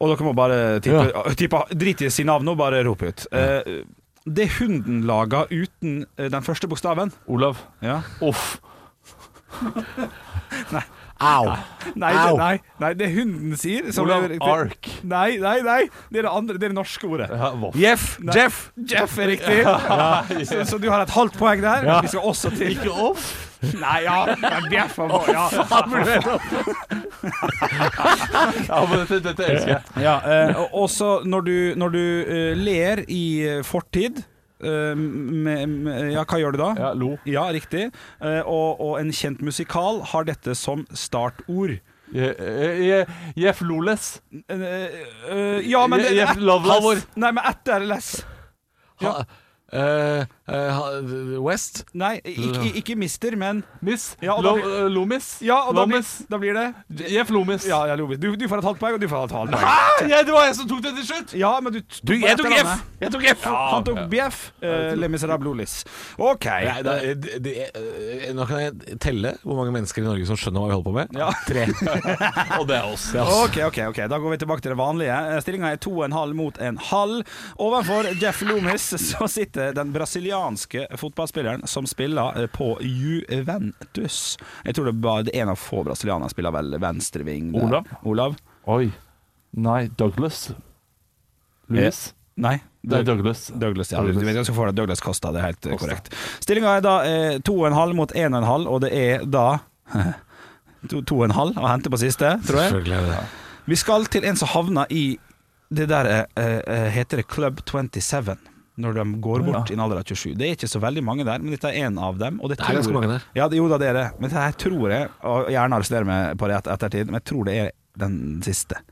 [SPEAKER 3] Og dere må bare tippe, eh, tippe Drit i si navn og bare rop ut. Eh, det hunden laga uten eh, den første bokstaven
[SPEAKER 4] Olav.
[SPEAKER 3] ja.
[SPEAKER 4] Off.
[SPEAKER 5] Au!
[SPEAKER 3] nei, det,
[SPEAKER 5] Au.
[SPEAKER 3] nei, nei, det hunden sier som
[SPEAKER 4] Olav
[SPEAKER 3] det-
[SPEAKER 4] Ark.
[SPEAKER 3] Nei, nei, nei. Det er det, andre, det, er det norske ordet.
[SPEAKER 4] Ja, hva f-
[SPEAKER 5] Jeff!
[SPEAKER 3] Nei.
[SPEAKER 5] Jeff!
[SPEAKER 3] Jeff er riktig. (laughs) Så, så du har et halvt poeng der. Vi skal også til
[SPEAKER 4] Ikke off.
[SPEAKER 3] Nei, ja. men Jeff er vår, ja.
[SPEAKER 4] Ja, men dette, dette elsker jeg.
[SPEAKER 3] Ja, eh, og også når du, når du eh, ler i eh, fortid eh, med, med, Ja, hva gjør du da?
[SPEAKER 4] Ja, lo.
[SPEAKER 3] Ja, riktig. Eh, og, og en kjent musikal har dette som startord.
[SPEAKER 4] Je- eh, eh, Jeff Loles.
[SPEAKER 3] Eh, eh, ja, men det,
[SPEAKER 4] Je- Jeff Loveless.
[SPEAKER 3] Nei, men etter less.
[SPEAKER 5] Ha, eh, eh, ha- West?
[SPEAKER 3] Nei, ikke, ikke mister, men
[SPEAKER 4] Miss.
[SPEAKER 3] Ja, og da
[SPEAKER 4] Lo,
[SPEAKER 3] blir-
[SPEAKER 4] eh, Lomis.
[SPEAKER 3] Ja, og da blir,
[SPEAKER 4] Lomis.
[SPEAKER 3] da blir det
[SPEAKER 4] Jeff Lomis.
[SPEAKER 3] Ja, ja, Lovis. Du, du får et halvt poeng, og du får et halvt poeng.
[SPEAKER 4] Ah, jeg, det var jeg som tok det til slutt!
[SPEAKER 3] Ja, men du,
[SPEAKER 5] Du, jeg tok Jeff! Jeg tok Jeff!
[SPEAKER 3] Han tok BF. Uh, Le Miserable Lolis. OK.
[SPEAKER 5] Nei, da, det, det, eh, nå kan jeg telle hvor mange mennesker i Norge som skjønner hva vi holder på med.
[SPEAKER 3] Ja.
[SPEAKER 5] Tre.
[SPEAKER 4] Og det er oss.
[SPEAKER 3] Ok, ok, ok, Da går vi tilbake til det vanlige. Stillinga er 2,5 mot en halv. Ovenfor Jeff Loomis (laughs) så sitter den brasilianske fotballspilleren som spiller eh, på Juventus. Jeg tror det er bare det er en av få brasilianere som spiller vel venstreving. der.
[SPEAKER 4] Olav?
[SPEAKER 3] Olav?
[SPEAKER 4] Oi. Nei, Douglas. Louis.
[SPEAKER 3] Eh, Nei.
[SPEAKER 4] Det er Douglas.
[SPEAKER 3] Douglas, ja.
[SPEAKER 4] Douglas.
[SPEAKER 3] Du vet ganske for deg Douglas Costa, det er helt eh, korrekt. Stillinga er da eh, 2,5 mot 1,5, og det er da (laughs) 2,5 å hente på siste, tror jeg.
[SPEAKER 5] Selvfølgelig er det det.
[SPEAKER 3] Vi skal til en som havner i det der eh, eh, Heter det Club 27? Når de går bort i en alder av 27. Det er ikke så veldig mange der, men dette er én av dem. Og det,
[SPEAKER 5] Det er ganske mange der.
[SPEAKER 3] Ja, det, jo da, det er det. Men dette her tror jeg, og gjerne arrester meg på det et- ettertid, men jeg tror det er den siste.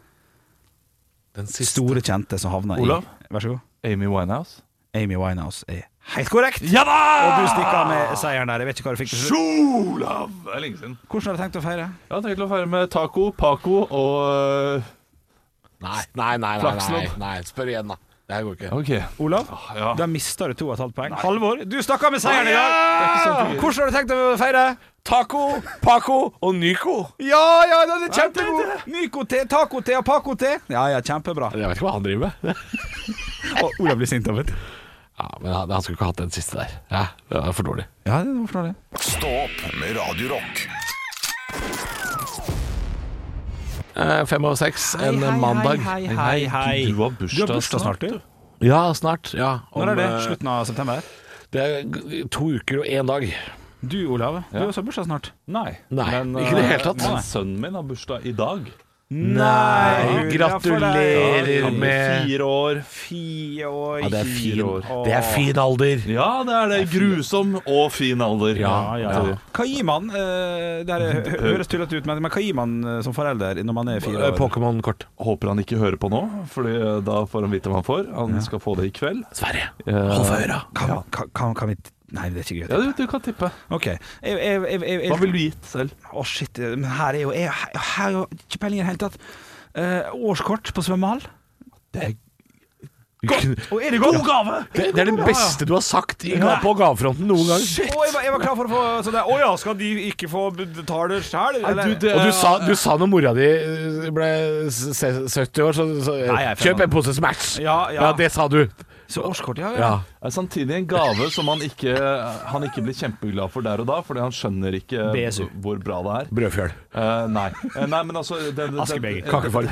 [SPEAKER 5] Den siste
[SPEAKER 3] Store kjente som havner
[SPEAKER 4] Olav?
[SPEAKER 3] i Vær så god.
[SPEAKER 4] Amy Winehouse.
[SPEAKER 3] Amy Winehouse er helt korrekt!
[SPEAKER 4] Ja da!
[SPEAKER 3] Og du stikker av med seieren der. Jeg vet ikke hva du fikk til slutt.
[SPEAKER 4] Olav! Det er lenge siden.
[SPEAKER 3] Hvordan har du tenkt å feire?
[SPEAKER 4] Jeg har tenkt å feire med taco, paco og øh,
[SPEAKER 5] Nei, nei, nei, nei, nei,
[SPEAKER 4] Flakslodd.
[SPEAKER 5] nei. Spør igjen, da. Det her går ikke.
[SPEAKER 4] OK.
[SPEAKER 3] Olav,
[SPEAKER 4] ja.
[SPEAKER 3] da mista du to og et halvt poeng. Halvor, du stakk av med seieren i dag! Hvordan har du tenkt å feire?
[SPEAKER 5] Taco, Paco og Nyco.
[SPEAKER 3] Ja, ja, den er kjempegod! Nyko-te, taco-te og paco-te. Ja, ja, kjempebra.
[SPEAKER 5] Jeg vet ikke hva han driver med.
[SPEAKER 3] Og Olav blir sint av det.
[SPEAKER 5] Ja, men han, han skulle ikke hatt den siste der. Ja, det var for dårlig.
[SPEAKER 3] Ja, det hvorfor det?
[SPEAKER 1] Stå opp med Radio Rock.
[SPEAKER 5] Eh, fem over seks en eh, mandag.
[SPEAKER 3] Hei, hei, hei.
[SPEAKER 4] Du har bursdag snart,
[SPEAKER 3] du.
[SPEAKER 5] Ja, snart. Ja.
[SPEAKER 3] Når er det?
[SPEAKER 5] eh,
[SPEAKER 3] Slutten av september?
[SPEAKER 5] Det er g- to uker og én dag.
[SPEAKER 3] Du, Olav, du har også bursdag snart.
[SPEAKER 4] Nei.
[SPEAKER 5] Nei,
[SPEAKER 4] Men,
[SPEAKER 5] ikke i det
[SPEAKER 4] øh,
[SPEAKER 5] hele tatt.
[SPEAKER 4] Men sønnen min har bursdag i dag.
[SPEAKER 3] Nei,
[SPEAKER 5] gratulerer
[SPEAKER 4] Han er
[SPEAKER 5] med
[SPEAKER 4] Fire år.
[SPEAKER 3] Fire år.
[SPEAKER 5] ja, det, er
[SPEAKER 4] fire
[SPEAKER 5] fin,
[SPEAKER 4] år.
[SPEAKER 5] det er fin alder.
[SPEAKER 4] Ja, det er det. Grusom og fin alder.
[SPEAKER 5] Ja,
[SPEAKER 4] ja.
[SPEAKER 3] Hva gir man? eh, Det her hø- høres tullete ut, men men hva gir man eh, som forelder når man er fire
[SPEAKER 5] Eh,
[SPEAKER 3] år?
[SPEAKER 5] Pokémon-kort.
[SPEAKER 4] Håper han ikke hører på nå, Fordi eh, da får han vite hva han får. Han skal få det i kveld.
[SPEAKER 5] Sverre,
[SPEAKER 4] Eh,
[SPEAKER 5] hold for øra.
[SPEAKER 3] Kan, kan, kan, kan vi Nei, det er ikke
[SPEAKER 4] Ja,
[SPEAKER 3] gøy.
[SPEAKER 4] du, du kan tippe.
[SPEAKER 3] OK. Jeg, jeg, jeg, jeg, jeg,
[SPEAKER 4] Hva ville du gitt selv?
[SPEAKER 3] Å, shit. Men her er jo jeg, her er jo ikke peiling i det hele tatt. Eh, årskort på svømmehall. Og er det god gave?
[SPEAKER 5] Det, det er det beste du har sagt i, ga- på gavefronten noen gang.
[SPEAKER 3] Å, jeg, var, jeg var klar for å få sånn der Å ja, skal de ikke få betale sjæl?
[SPEAKER 4] du, det-
[SPEAKER 5] Og du sa, du sa når mora di eh, ble s- se- 70 år, så, så eh,
[SPEAKER 3] Nei, jeg er fem
[SPEAKER 5] Kjøp
[SPEAKER 3] år.
[SPEAKER 5] en pose Smash!
[SPEAKER 3] Ja, ja.
[SPEAKER 5] det sa du.
[SPEAKER 3] Så årskort, ja. ja.
[SPEAKER 5] Ja.
[SPEAKER 4] Er samtidig en gave som han ikke, han ikke blir kjempeglad for der og da, fordi han skjønner ikke
[SPEAKER 3] BSU.
[SPEAKER 4] hvor bra det er.
[SPEAKER 5] Brødfjøl.
[SPEAKER 4] Eh, nei. Eh, nei, men altså det- det- det-
[SPEAKER 3] Askebeger.
[SPEAKER 5] Kakefall.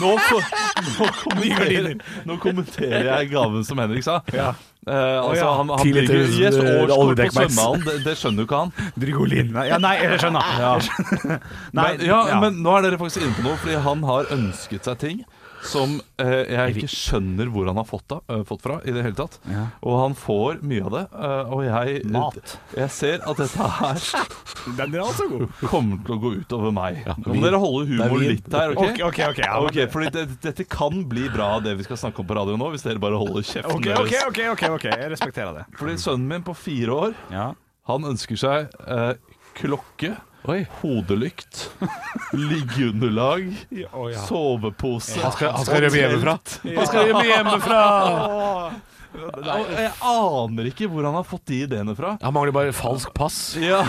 [SPEAKER 4] Nå, ko- nå, kommenterer, nå kommenterer jeg gaven som Henrik sa. Eh, altså,
[SPEAKER 3] ja.
[SPEAKER 4] han, han
[SPEAKER 5] Ti liter,
[SPEAKER 4] bygger yes,
[SPEAKER 5] eh,
[SPEAKER 4] årskort på
[SPEAKER 5] oljedekkmax.
[SPEAKER 4] svømmehallen, det, det skjønner jo ikke han.
[SPEAKER 3] Drygolin. Nei, Ja, nei, jeg skjønner. Jeg skjønner. Nei,
[SPEAKER 4] men, ja, men nå er dere faktisk inne på noe, fordi han har ønsket seg ting som eh, jeg ikke skjønner hvor han har fått, av, eh, fått fra i det hele tatt. Og han får mye av det, eh, og jeg
[SPEAKER 3] Mat.
[SPEAKER 4] Jeg ser at dette her
[SPEAKER 3] Den er altså god.
[SPEAKER 4] kommer til å gå utover meg. Nå
[SPEAKER 5] vi-
[SPEAKER 4] må dere holde
[SPEAKER 5] det
[SPEAKER 4] humoren
[SPEAKER 5] er vi-
[SPEAKER 4] litt her, OK?
[SPEAKER 3] Ok, ok, ok, ja, men-
[SPEAKER 4] Ok, fordi det, dette kan bli bra, det vi skal snakke om på radio nå, hvis dere bare holder kjeften
[SPEAKER 3] Ok, ok, ok. ok, ok, OK, jeg respekterer det.
[SPEAKER 4] Fordi sønnen min på fire år
[SPEAKER 3] Ja.
[SPEAKER 4] Han ønsker seg eh, klokke,
[SPEAKER 5] Oi.
[SPEAKER 4] hodelykt, (laughs) liggeunderlag, sovepose
[SPEAKER 5] Han skal rømme hjemmefra. Han skal rømme hjemmefra!
[SPEAKER 4] Og Jeg aner ikke hvor han har fått de ideene fra.
[SPEAKER 5] Han mangler bare falsk pass.
[SPEAKER 4] Ja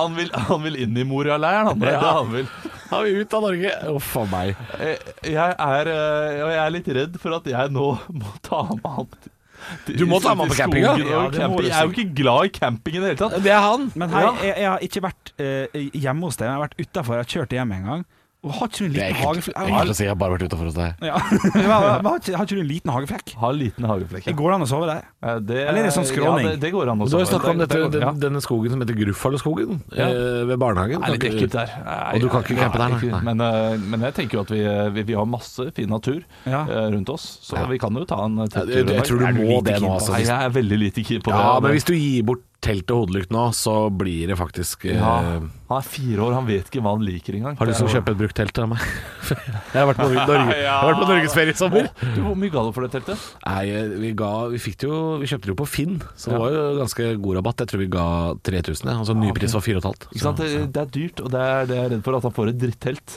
[SPEAKER 4] Han vil, han vil inn i Moria-leiren, han. Det er det han vil.
[SPEAKER 5] Han vil ut av Norge. Uff a meg.
[SPEAKER 4] Jeg, jeg, er, eh, og jeg er litt redd for at jeg nå (laughs) må ta med han til- til-
[SPEAKER 5] Du må ta med han på
[SPEAKER 4] til
[SPEAKER 5] campinga.
[SPEAKER 4] skogen og
[SPEAKER 5] Ja, det må
[SPEAKER 4] camping.
[SPEAKER 5] du
[SPEAKER 4] Jeg er jo ikke glad i camping i det hele tatt.
[SPEAKER 5] Det er han.
[SPEAKER 3] Men hei, jeg, jeg har ikke vært eh, hjemme hos deg, jeg har vært utafor. Jeg har kjørt hjem en gang. Og har ikke du en
[SPEAKER 5] Det er
[SPEAKER 3] liten
[SPEAKER 5] ekkelt.
[SPEAKER 3] hageflekk?
[SPEAKER 5] Det er ekkelt å si jeg har bare vært utafor hos deg.
[SPEAKER 3] Ja. (laughs) Men har- har ikke- har ikke du en liten hageflekk?
[SPEAKER 4] Har liten hageflekk.
[SPEAKER 3] Går det an å sove der?
[SPEAKER 4] Eh, Det,
[SPEAKER 3] Eller er det sånn skråning?
[SPEAKER 4] Ja, det, det går an å
[SPEAKER 5] Du har jo
[SPEAKER 4] sove.
[SPEAKER 5] snakka om
[SPEAKER 4] Det-
[SPEAKER 5] dette,
[SPEAKER 4] det går- ja.
[SPEAKER 5] den, denne skogen som heter Gruffaloskogen
[SPEAKER 4] Ja.
[SPEAKER 5] eh, ved barnehagen.
[SPEAKER 4] Det er litt
[SPEAKER 5] Kan
[SPEAKER 4] ekkelt
[SPEAKER 5] ikke-
[SPEAKER 4] der. Nei,
[SPEAKER 5] Og du kan ikke
[SPEAKER 4] nei,
[SPEAKER 5] campe der,
[SPEAKER 4] ikke-
[SPEAKER 5] nei.
[SPEAKER 4] Men, eh, men jeg tenker jo at vi, eh, vi, vi har masse fin natur
[SPEAKER 3] Ja.
[SPEAKER 4] eh, rundt oss, så vi kan jo ta en eh,
[SPEAKER 5] Ja,
[SPEAKER 4] tur.
[SPEAKER 5] jeg, jeg tror du
[SPEAKER 4] Er
[SPEAKER 5] må
[SPEAKER 4] lite
[SPEAKER 5] det
[SPEAKER 4] keen
[SPEAKER 5] nå,
[SPEAKER 4] på-
[SPEAKER 5] altså.
[SPEAKER 4] Nei,
[SPEAKER 5] Hvis,
[SPEAKER 4] jeg er veldig lite keen på det.
[SPEAKER 5] ja, men hvis du gir bort telt og hodelykt nå, så blir det faktisk eh,
[SPEAKER 4] Ja, Han er fire år, han vet ikke hva han liker engang.
[SPEAKER 5] Har du lyst til å kjøpe et brukt telt av meg? (laughs) Jeg har vært (laughs) på, Norge, Norge. Jeg har vært på norgesferie i sommer.
[SPEAKER 4] Du, Hvor mye ga du for det teltet?
[SPEAKER 5] Nei, eh, vi, ga, vi, fikk det jo, vi kjøpte det jo på Finn, så det var jo ganske god rabatt. Jeg tror vi ga 3000. ja. Altså ny pris var 4500.
[SPEAKER 4] Ikke sant? Det, det er dyrt, og det er, det er jeg redd for at han får et drittelt.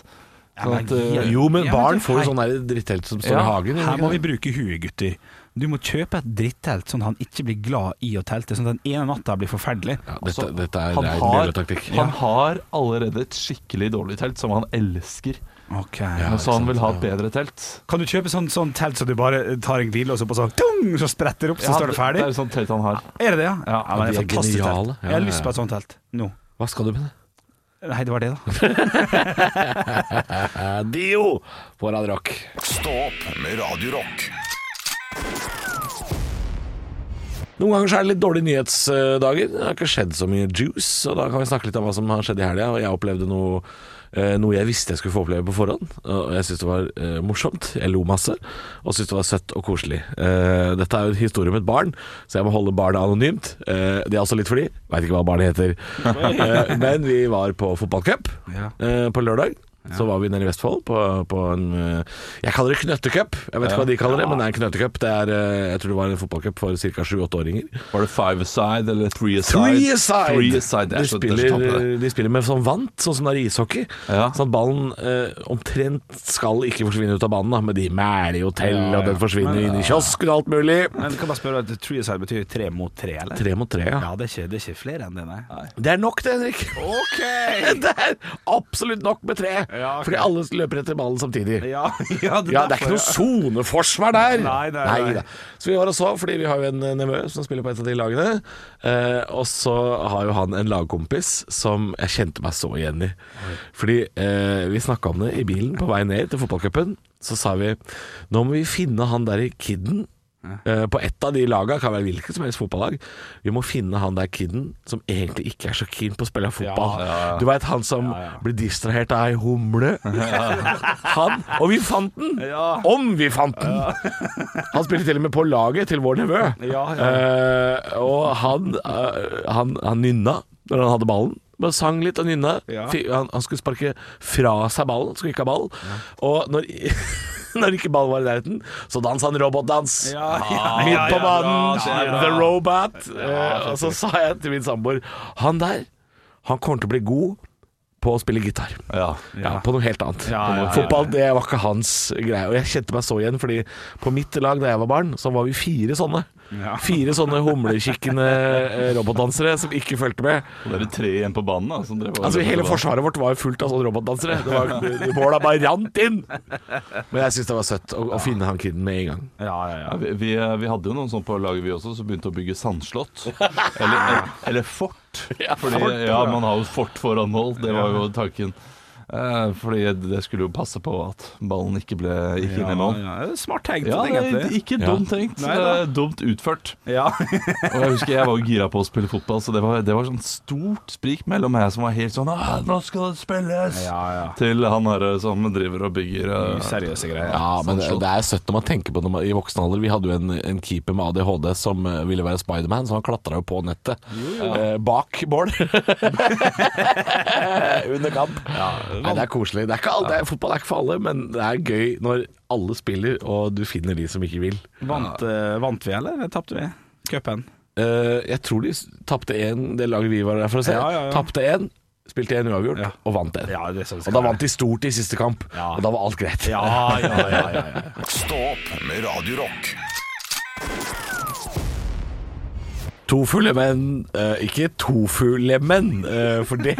[SPEAKER 4] Sånn at, eh,
[SPEAKER 5] Jo, men
[SPEAKER 3] Ja, men
[SPEAKER 5] barn
[SPEAKER 3] det-
[SPEAKER 5] får
[SPEAKER 3] hei.
[SPEAKER 5] jo sånn der drittelt som står
[SPEAKER 4] Ja,
[SPEAKER 5] i hagen. gjør de
[SPEAKER 3] Her må
[SPEAKER 5] ikke
[SPEAKER 3] vi bruke huet, gutter. Du må kjøpe et drittelt, sånn at han ikke blir glad i å telte. Sånn at den ene natta blir forferdelig.
[SPEAKER 5] det? ja,
[SPEAKER 4] altså,
[SPEAKER 5] dette, dette er
[SPEAKER 4] han
[SPEAKER 5] rein
[SPEAKER 4] har-
[SPEAKER 5] miljøtaktikk.
[SPEAKER 4] Han har allerede et skikkelig dårlig telt som han elsker,
[SPEAKER 3] Ok
[SPEAKER 5] Ja,
[SPEAKER 4] så han
[SPEAKER 5] ikke
[SPEAKER 4] vil ha
[SPEAKER 5] sant,
[SPEAKER 4] et bedre telt.
[SPEAKER 3] Kan du kjøpe sånn, sånn telt så du bare tar en hvile, og så på sånn tung, så spretter det opp, så
[SPEAKER 4] Ja,
[SPEAKER 3] står det
[SPEAKER 4] Det
[SPEAKER 3] ferdig?
[SPEAKER 4] er et sånt telt han har.
[SPEAKER 3] Er det det, ja?
[SPEAKER 4] Ja,
[SPEAKER 3] men det er
[SPEAKER 5] de er
[SPEAKER 3] fantastisk
[SPEAKER 5] geniale.
[SPEAKER 3] telt.
[SPEAKER 5] Ja,
[SPEAKER 3] Jeg har
[SPEAKER 5] ja,
[SPEAKER 3] lyst på et sånt telt nå.
[SPEAKER 5] Hva skal du med det?
[SPEAKER 3] Nei, det var det, da.
[SPEAKER 5] (laughs) Eh, Dio på Radio Rock.
[SPEAKER 1] Stå opp med Radio Rock.
[SPEAKER 5] Noen ganger så er det litt dårlige nyhetsdager. Det har ikke skjedd så mye juice, og da kan vi snakke litt om hva som har skjedd i helga. Og jeg opplevde noe, eh, noe jeg visste jeg skulle få oppleve på forhånd. Og jeg syntes det var eh, morsomt. Jeg lo masse, og syntes det var søtt og koselig. Eh, Dette er jo en historie om et barn, så jeg må holde barnet anonymt. Eh, Det er også litt fordi Veit ikke hva barnet heter. Eh, Men vi var på fotballcup
[SPEAKER 3] Ja.
[SPEAKER 5] eh, på lørdag. Så var vi nede i Vestfold på, på en eh, Jeg kaller det knøttecup. Jeg vet ikke hva de kaller det, men det er en knøttecup. Det er, eh, jeg tror det var en fotballcup for ca. sju-åtteåringer.
[SPEAKER 4] Var det five aside eller three aside?
[SPEAKER 5] Three aside!
[SPEAKER 4] Three aside. Det er
[SPEAKER 5] De,
[SPEAKER 4] så- det er så tapt, det.
[SPEAKER 5] spiller, de spiller med sånn vant, sånn som det er i ishockey.
[SPEAKER 4] Ja.
[SPEAKER 5] Sånn at ballen eh, omtrent skal ikke forsvinne ut av banen, da, men de mæler jo til, og den forsvinner inn i kiosken og alt mulig.
[SPEAKER 3] Men du kan bare spørre at three side betyr tre mot tre, eller?
[SPEAKER 5] Tre mot tre, ja.
[SPEAKER 3] Ja, det er ikke, det er ikke flere enn det, nei.
[SPEAKER 5] Det er nok det, Henrik. (laughs) det er absolutt nok med tre.
[SPEAKER 3] Ja, ok.
[SPEAKER 5] Fordi alle løper etter ballen samtidig.
[SPEAKER 3] Ja, (laughs) ja,
[SPEAKER 5] Ja, det er ikke noe soneforsvar der!
[SPEAKER 3] Nei, nei, nei.
[SPEAKER 5] da. Så vi var og så, fordi vi har jo en eh, nevø som spiller på et av de lagene. Eh, og så har jo han en lagkompis som jeg kjente meg så igjen i. Fordi eh, vi snakka om det i bilen på vei ned til fotballcupen. Så sa vi nå må vi finne han derre kiden. eh, På ett av de laga, kan være hvilket som helst fotballag. Vi må finne han der kiden som egentlig ikke er så keen på å spille fotball. Du veit han som blir distrahert av ei
[SPEAKER 3] (laughs)
[SPEAKER 5] humle? Han, og vi fant den! Om vi fant den! Han spiller til og med på laget til vår nevø. Eh, og han, eh, han, han nynna når han hadde ballen. Bare sang litt og nynna.
[SPEAKER 3] Ja.
[SPEAKER 5] Fi- Han, han skulle sparke fra seg ballen, skulle ikke ha ball. Og når, (laughs) når ikke ballen var i nærheten, så dansa han robotdans.
[SPEAKER 3] Ja,
[SPEAKER 5] Midt på
[SPEAKER 4] bra,
[SPEAKER 5] banen.
[SPEAKER 4] det er bra.
[SPEAKER 5] The Robot. Eh, og så sa jeg til min samboer Han der, han kommer til å bli god på å spille gitar.
[SPEAKER 4] Ah, Ja.
[SPEAKER 5] Ja, på noe helt annet.
[SPEAKER 3] Ja, ja, ja, ja.
[SPEAKER 5] Fotball det var ikke hans greie. Og jeg kjente meg så igjen, fordi på mitt lag da jeg var barn, så var vi fire sånne.
[SPEAKER 3] Ja.
[SPEAKER 5] Fire sånne humlekikkende eh, robotdansere som ikke fulgte med.
[SPEAKER 4] Og det er tre igjen på banen, da. Som drev og-
[SPEAKER 5] Altså Hele forsvaret vårt var jo fullt av sånne robotdansere. Det var, de Måla bare rant inn! Men jeg syns det var søtt å, å finne han kiden med en gang.
[SPEAKER 3] ja, ja, ja.
[SPEAKER 4] Ja, vi, vi, vi hadde jo noen sånn på laget vi også, som begynte å bygge
[SPEAKER 5] (laughs)
[SPEAKER 4] sandslott. Eller, eller fort. Fordi, ja, man har jo fort foran mål, det var jo tanken. Eh, Fordi det skulle jo passe på at ballen ikke ble gikk inn i mål.
[SPEAKER 3] Ja, ja. Smart tenkt,
[SPEAKER 4] Ja, det er
[SPEAKER 3] egentlig.
[SPEAKER 4] ikke dumt tenkt.
[SPEAKER 3] Nei da.
[SPEAKER 4] eh, Dumt utført.
[SPEAKER 3] Ja. (laughs)
[SPEAKER 4] Og jeg husker jeg var jo gira på å spille fotball, så det var, det var sånn stort sprik mellom meg som var helt sånn «Ah, Nå skal det spilles!
[SPEAKER 3] Ja, ja.
[SPEAKER 4] Til han her som driver og bygger eh,
[SPEAKER 3] Seriøse greier.
[SPEAKER 5] Ja, men det, det er søtt når man tenker på det når man- i voksen alder. Vi hadde jo en, en keeper med ADHD som eh, ville være Spiderman, så han klatra jo på nettet. Eh, bak mål. (laughs) Under kamp. Nei, det er koselig. Det er ikke alle, det er, fotball er ikke for alle, men det er gøy når alle spiller og du finner de som ikke vil.
[SPEAKER 3] Vant, eh, vant vi, eller tapte vi cupen?
[SPEAKER 5] Eh, jeg tror de s- tapte én, det laget vi var der for å se.
[SPEAKER 3] Ja, ja, ja.
[SPEAKER 5] Tapte én, spilte én uavgjort
[SPEAKER 3] Ja.
[SPEAKER 5] og vant én.
[SPEAKER 3] Ja, det er sånn det
[SPEAKER 5] og
[SPEAKER 3] skal
[SPEAKER 5] da
[SPEAKER 3] være.
[SPEAKER 5] vant de stort i siste kamp, og da var alt greit.
[SPEAKER 3] Ah, Ja,
[SPEAKER 4] (laughs)
[SPEAKER 3] ja, ja, ja, ja.
[SPEAKER 1] Stå opp med Radio Rock.
[SPEAKER 5] To fulle menn, eh, ikke to fulle menn, eh, for det,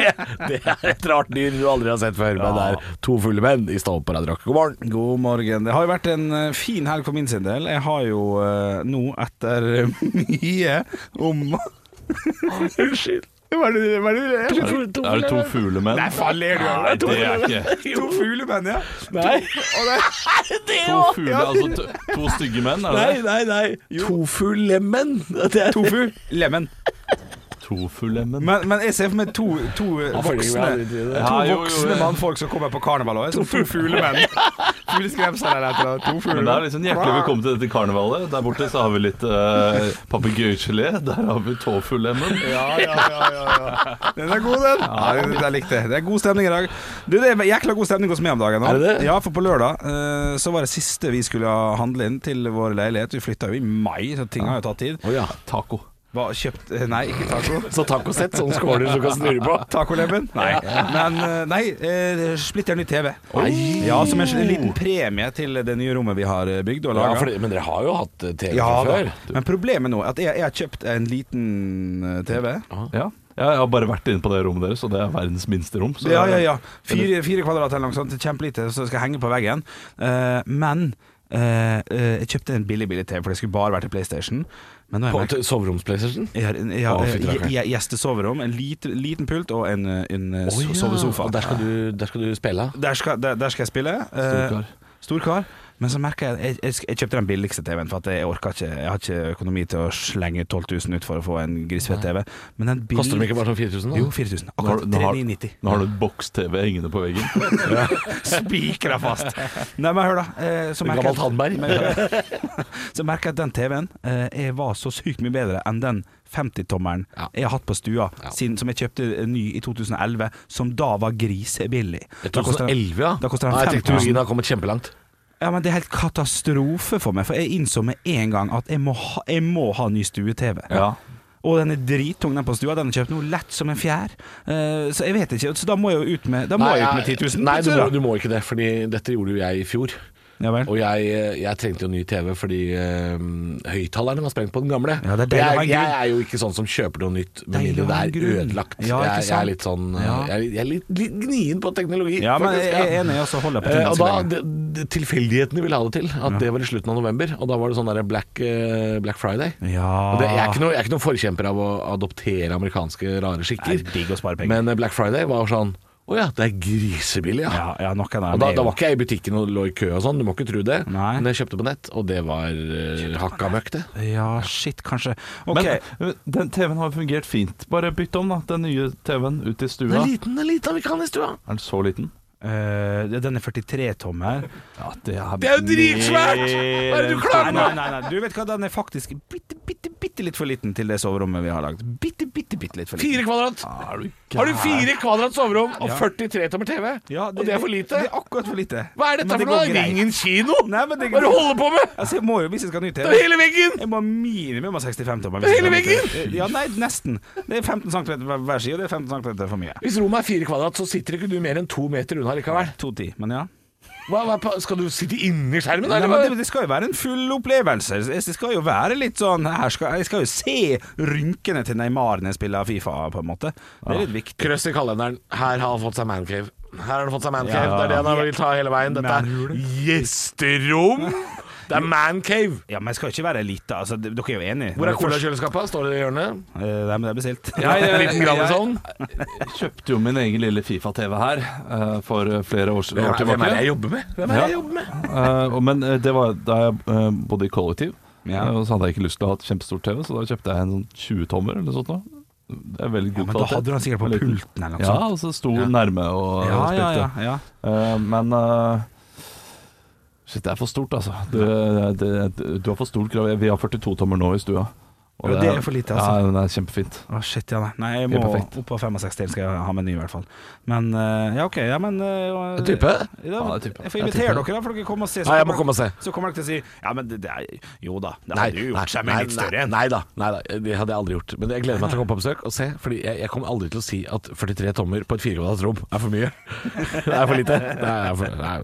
[SPEAKER 5] det er et rart dyr du aldri har sett før. Men det er to fulle menn i Stå opp på Radio Rock. God morgen.
[SPEAKER 3] God morgen. Det har jo vært en eh, fin helg for min sin del. Jeg har jo eh, nå, etter eh, mye om (laughs) Unnskyld. Hva er det hva er det du ler av?
[SPEAKER 4] Er det to fuglemenn?
[SPEAKER 3] Nei, faen, ler du av
[SPEAKER 4] Nei,
[SPEAKER 3] To
[SPEAKER 4] det er
[SPEAKER 3] fuglemenn.
[SPEAKER 4] ikke
[SPEAKER 3] To fuglemenn, ja.
[SPEAKER 4] To fugle, altså to, to stygge menn, er det
[SPEAKER 5] Nei,
[SPEAKER 4] det?
[SPEAKER 5] nei, nei. To fulle menn. Det er
[SPEAKER 3] Tofu. Lemen.
[SPEAKER 4] To fuglemenn.
[SPEAKER 3] Men, men jeg ser for meg to, to voksne To
[SPEAKER 4] Ja, jo, jo,
[SPEAKER 3] voksne
[SPEAKER 4] jo.
[SPEAKER 3] mannfolk som kommer på karneval òg. To fuglemenn.
[SPEAKER 4] (laughs)
[SPEAKER 3] Fugleskremsel eller et eller annet. To
[SPEAKER 4] Men det er
[SPEAKER 3] fugler.
[SPEAKER 4] liksom Hjertelig velkommen til dette karnevalet. Der borte så har vi litt uh, papegøyegelé. Der har vi tåfuglemmen.
[SPEAKER 3] Ja, ja, ja, ja, ja. Den er god, den. Ja, den, den likte jeg. Det er god stemning i dag. Du, det er jækla god stemning hos meg om dagen. nå.
[SPEAKER 5] Er det det?
[SPEAKER 3] Ja, for på lørdag eh, så var det siste vi skulle handle inn til vår leilighet. Vi flytta jo i mai, så ting har jo tatt tid.
[SPEAKER 5] Å ja.
[SPEAKER 4] Taco.
[SPEAKER 3] Hva, kjøpt eh, Nei, ikke taco.
[SPEAKER 5] Så tacosett, sånn skåler som kan snurre på.
[SPEAKER 3] Tacolemmen? Nei. Men eh, nei, eh, splitter ny TV. Ja, Som en liten premie til det nye rommet vi har eh, bygd og
[SPEAKER 5] Ja,
[SPEAKER 3] laga.
[SPEAKER 5] for, det- men dere har jo hatt eh, TV
[SPEAKER 3] Ja
[SPEAKER 5] fra
[SPEAKER 3] da.
[SPEAKER 5] før.
[SPEAKER 3] Men problemet nå er at jeg, jeg har kjøpt en liten eh, TV.
[SPEAKER 4] Ja. Ja, jeg har bare vært inne på det rommet deres, og det er verdens minste rom. Så
[SPEAKER 3] Ja, ja, ja. Fire, fire kvadrat eller noe sånt. Kjempelite, så det skal henge på veggen. Eh, men eh, eh, jeg kjøpte en billig, billig TV, for det skulle bare vært til PlayStation. Men nå har jeg
[SPEAKER 5] På
[SPEAKER 3] merket-
[SPEAKER 5] til soveromsplaystation?
[SPEAKER 3] jeg har en- jeg har,
[SPEAKER 5] Å,
[SPEAKER 3] eh,
[SPEAKER 5] fy rakkeren.
[SPEAKER 3] gje- gje- gjestesoverom, en lite, liten pult og en, eh, en eh, so- sovesofa.
[SPEAKER 5] Og der skal du, der skal du spille?
[SPEAKER 3] Der skal, der, der skal jeg spille. Eh,
[SPEAKER 4] Storkar.
[SPEAKER 3] stor kar. Men så merker jeg jeg, jeg jeg kjøpte den billigste TV-en, for at jeg orka ikke Jeg har ikke økonomi til å slenge 12 000 ut for å få en grisfett TV. Men den bil-
[SPEAKER 5] Koster de ikke bare sånn 4000? da?
[SPEAKER 3] Jo, 4000.
[SPEAKER 4] Nå har,
[SPEAKER 3] Akkurat.
[SPEAKER 4] nå har,
[SPEAKER 3] 3990.
[SPEAKER 4] nå har du et boks-TV hengende på
[SPEAKER 5] (laughs)
[SPEAKER 4] veggen.
[SPEAKER 3] (laughs) Spikra fast. Nei, men hør, da. eh, Så merker jeg-
[SPEAKER 5] Gammelt Handberg.
[SPEAKER 3] (laughs) så merker jeg at den TV-en eh, jeg var så sykt mye bedre enn den 50-tommeren
[SPEAKER 5] Ja.
[SPEAKER 3] jeg har hatt på stua,
[SPEAKER 5] Ja.
[SPEAKER 3] siden, som jeg kjøpte eh, ny i 2011, som da var grisebillig. Da koster den-
[SPEAKER 5] 2011, ja.
[SPEAKER 3] Da koster den
[SPEAKER 5] Nei,
[SPEAKER 3] 5000.
[SPEAKER 5] teknologien har kommet kjempelangt.
[SPEAKER 3] Ja, men Det er helt katastrofe for meg, for jeg innså med en gang at jeg må ha, jeg må ha ny stue-TV.
[SPEAKER 4] Ja.
[SPEAKER 3] Og den er drittung, den på stua. Den er kjøpt noe lett som en fjær. Eh, så jeg vet ikke. Så da må jeg jo ut med, da må jeg ut med 10 000.
[SPEAKER 5] Nei, du må,
[SPEAKER 3] plutselig,
[SPEAKER 5] du må ikke det, Fordi dette gjorde jo jeg i fjor.
[SPEAKER 3] da. Ja vel.
[SPEAKER 5] Og jeg, jeg trengte jo ny TV fordi eh, høyttalerne var sprengt på den gamle.
[SPEAKER 3] Ja, det er deilig å ha en
[SPEAKER 5] jeg, jeg
[SPEAKER 3] grunn.
[SPEAKER 5] er jo ikke sånn som kjøper noe nytt med
[SPEAKER 3] Deilig
[SPEAKER 5] mindre
[SPEAKER 3] å ha
[SPEAKER 5] det
[SPEAKER 3] en
[SPEAKER 5] er
[SPEAKER 3] grunn.
[SPEAKER 5] ødelagt.
[SPEAKER 3] Ja, ikke
[SPEAKER 5] jeg, jeg
[SPEAKER 3] sant?
[SPEAKER 5] er litt sånn eh,
[SPEAKER 3] Ja.
[SPEAKER 5] jeg, er- jeg er litt, litt gnien på teknologi.
[SPEAKER 3] Ja, men
[SPEAKER 5] faktisk,
[SPEAKER 3] jeg
[SPEAKER 5] ja.
[SPEAKER 3] er enig, og så holder jeg på
[SPEAKER 5] Eh,
[SPEAKER 3] ting
[SPEAKER 5] og
[SPEAKER 3] ganske
[SPEAKER 5] da,
[SPEAKER 3] lenge.
[SPEAKER 5] det, det, Tilfeldighetene ville ha det til. At Det var i slutten av november. Og da var det sånn der Black, eh, Black Friday.
[SPEAKER 3] Ja.
[SPEAKER 5] Og det, jeg,
[SPEAKER 3] Ah.
[SPEAKER 5] er ikke noe, jeg er ikke noen forkjemper av å adoptere amerikanske rare skikker.
[SPEAKER 3] Det er digg å spare penger.
[SPEAKER 5] Men eh, Black Friday var sånn Å ja, det er grisebillig, ja.
[SPEAKER 3] ja, ja, nok av det.
[SPEAKER 5] Og da, da var ikke jeg i butikken og lå i kø og sånn, du må ikke tro det.
[SPEAKER 3] Nei.
[SPEAKER 5] Men jeg kjøpte på nett, og det var uh, hakka møkk, det.
[SPEAKER 3] Ja, shit, kanskje. OK.
[SPEAKER 4] Men eh, den TV-en har fungert fint. Bare bytt om, da. Den nye TV-en ut i
[SPEAKER 5] Den
[SPEAKER 4] stua.
[SPEAKER 5] er liten, den er liten, vi kan i stua.
[SPEAKER 4] Er den så liten?
[SPEAKER 3] eh, den er 43-tommer.
[SPEAKER 4] Ja, det er,
[SPEAKER 5] Det er jo dritsvært! Hva er det du
[SPEAKER 3] Nei,
[SPEAKER 5] klager
[SPEAKER 3] nei,
[SPEAKER 5] med?
[SPEAKER 3] nei, nei. Du vet hva, den er faktisk bitte, bitte, bitte litt for liten til det soverommet vi har lagd. Bitte, bitte, bitte litt for liten.
[SPEAKER 5] Fire kvadrat.
[SPEAKER 3] Ah,
[SPEAKER 4] Er du
[SPEAKER 5] Har du
[SPEAKER 4] gæren?
[SPEAKER 5] fire kvadrat soverom og 43 tommer TV?
[SPEAKER 3] Ja,
[SPEAKER 5] og det er for lite?
[SPEAKER 3] Det er akkurat for lite.
[SPEAKER 5] Hva er dette
[SPEAKER 3] Men det
[SPEAKER 5] for noe?
[SPEAKER 3] går greit.
[SPEAKER 5] Ringen kino?
[SPEAKER 3] Nei, men det
[SPEAKER 5] Hva er det du holder på med?
[SPEAKER 3] Altså, jeg må jo, hvis jeg skal ha ny
[SPEAKER 5] Det er
[SPEAKER 3] TV
[SPEAKER 5] hele veggen!
[SPEAKER 3] Jeg må ha minimum av 65 tommer.
[SPEAKER 5] Hele veggen!
[SPEAKER 3] Ja, nei, nesten. Det er 15 cm hver hver side, og det er 15 cm for mye.
[SPEAKER 5] Hvis rommet er fire kvadrat, så sitter ikke du mer enn to meter unna likevel.
[SPEAKER 3] 2,10, men ja.
[SPEAKER 5] Hva, hva, skal du sitte inni skjermen,
[SPEAKER 3] Nei,
[SPEAKER 5] eller?
[SPEAKER 3] men det,
[SPEAKER 5] hva?
[SPEAKER 3] det skal jo være en full opplevelse. Det skal jo være litt sånn her skal, Jeg skal jo se rynkene til Neymar når jeg spiller Fifa, på en måte. Det er litt viktig.
[SPEAKER 5] Krøss i kalenderen. Her har han fått seg mancave. Her har han fått seg mancave.
[SPEAKER 3] Ja.
[SPEAKER 5] Det er det han har villet ta hele veien. Dette er
[SPEAKER 3] Manhule.
[SPEAKER 5] gjesterom. Det er mancave.
[SPEAKER 3] Ja, Men jeg skal jo ikke være elite. Altså, d- dere er jo enige.
[SPEAKER 5] Hvor er colakjøleskapet? Står det i hjørnet?
[SPEAKER 3] Eh, Nei, men det er bestilt.
[SPEAKER 5] En liten Grandison.
[SPEAKER 4] Jeg kjøpte jo min egen lille Fifa-TV her eh, for eh, flere år, år tilbake.
[SPEAKER 5] jobber med? Hvem
[SPEAKER 4] Ja.
[SPEAKER 5] jobber med?
[SPEAKER 4] Eh, og- men eh, det var da jeg eh, bodde i kollektiv.
[SPEAKER 3] Ja.
[SPEAKER 4] eh, Og så hadde jeg ikke lyst til å ha et kjempestort TV, så da kjøpte jeg en sånn 20-tommer eller sånt. noe. Det er veldig god
[SPEAKER 3] men da hadde du den sikkert på
[SPEAKER 4] Og liten.
[SPEAKER 3] pulten eller noe
[SPEAKER 4] Ja,
[SPEAKER 3] sånt.
[SPEAKER 4] og så sto den nærme og
[SPEAKER 3] Ja,
[SPEAKER 4] og
[SPEAKER 3] ja, ja,
[SPEAKER 4] spilte.
[SPEAKER 3] ja.
[SPEAKER 4] Eh, men eh, eh, Shit, det er for stort, altså. Det, det, det, du har for stort grav. Vi har 42 tommer nå i stua.
[SPEAKER 3] Jo, det er for lite, altså.
[SPEAKER 4] Ja, det er kjempefint.
[SPEAKER 3] Å, shit, ja, nei. nei jeg må
[SPEAKER 4] Helt perfekt.
[SPEAKER 3] opp på 65 til, skal jeg ha med ny i hvert fall. Men eh, ja, OK. Ja, men eh,
[SPEAKER 5] En type?
[SPEAKER 3] Ja,
[SPEAKER 4] Ja, det er type.
[SPEAKER 3] Jeg får invitere dere, da, for dere kommer og ser.
[SPEAKER 5] Nei, jeg må komme og se.
[SPEAKER 3] Så kommer dere til å si Ja, men det, det er Jo da, det
[SPEAKER 5] Nei,
[SPEAKER 3] hadde jo gjort seg med litt større
[SPEAKER 5] nei,
[SPEAKER 3] en.
[SPEAKER 5] nei da, nei da, det hadde jeg aldri gjort. Men jeg gleder meg til å komme på besøk og se, Fordi jeg, jeg kommer aldri til å si at 43 tommer på et firekvadrats rom er for mye. (laughs) Det er for lite. Det er for, det er-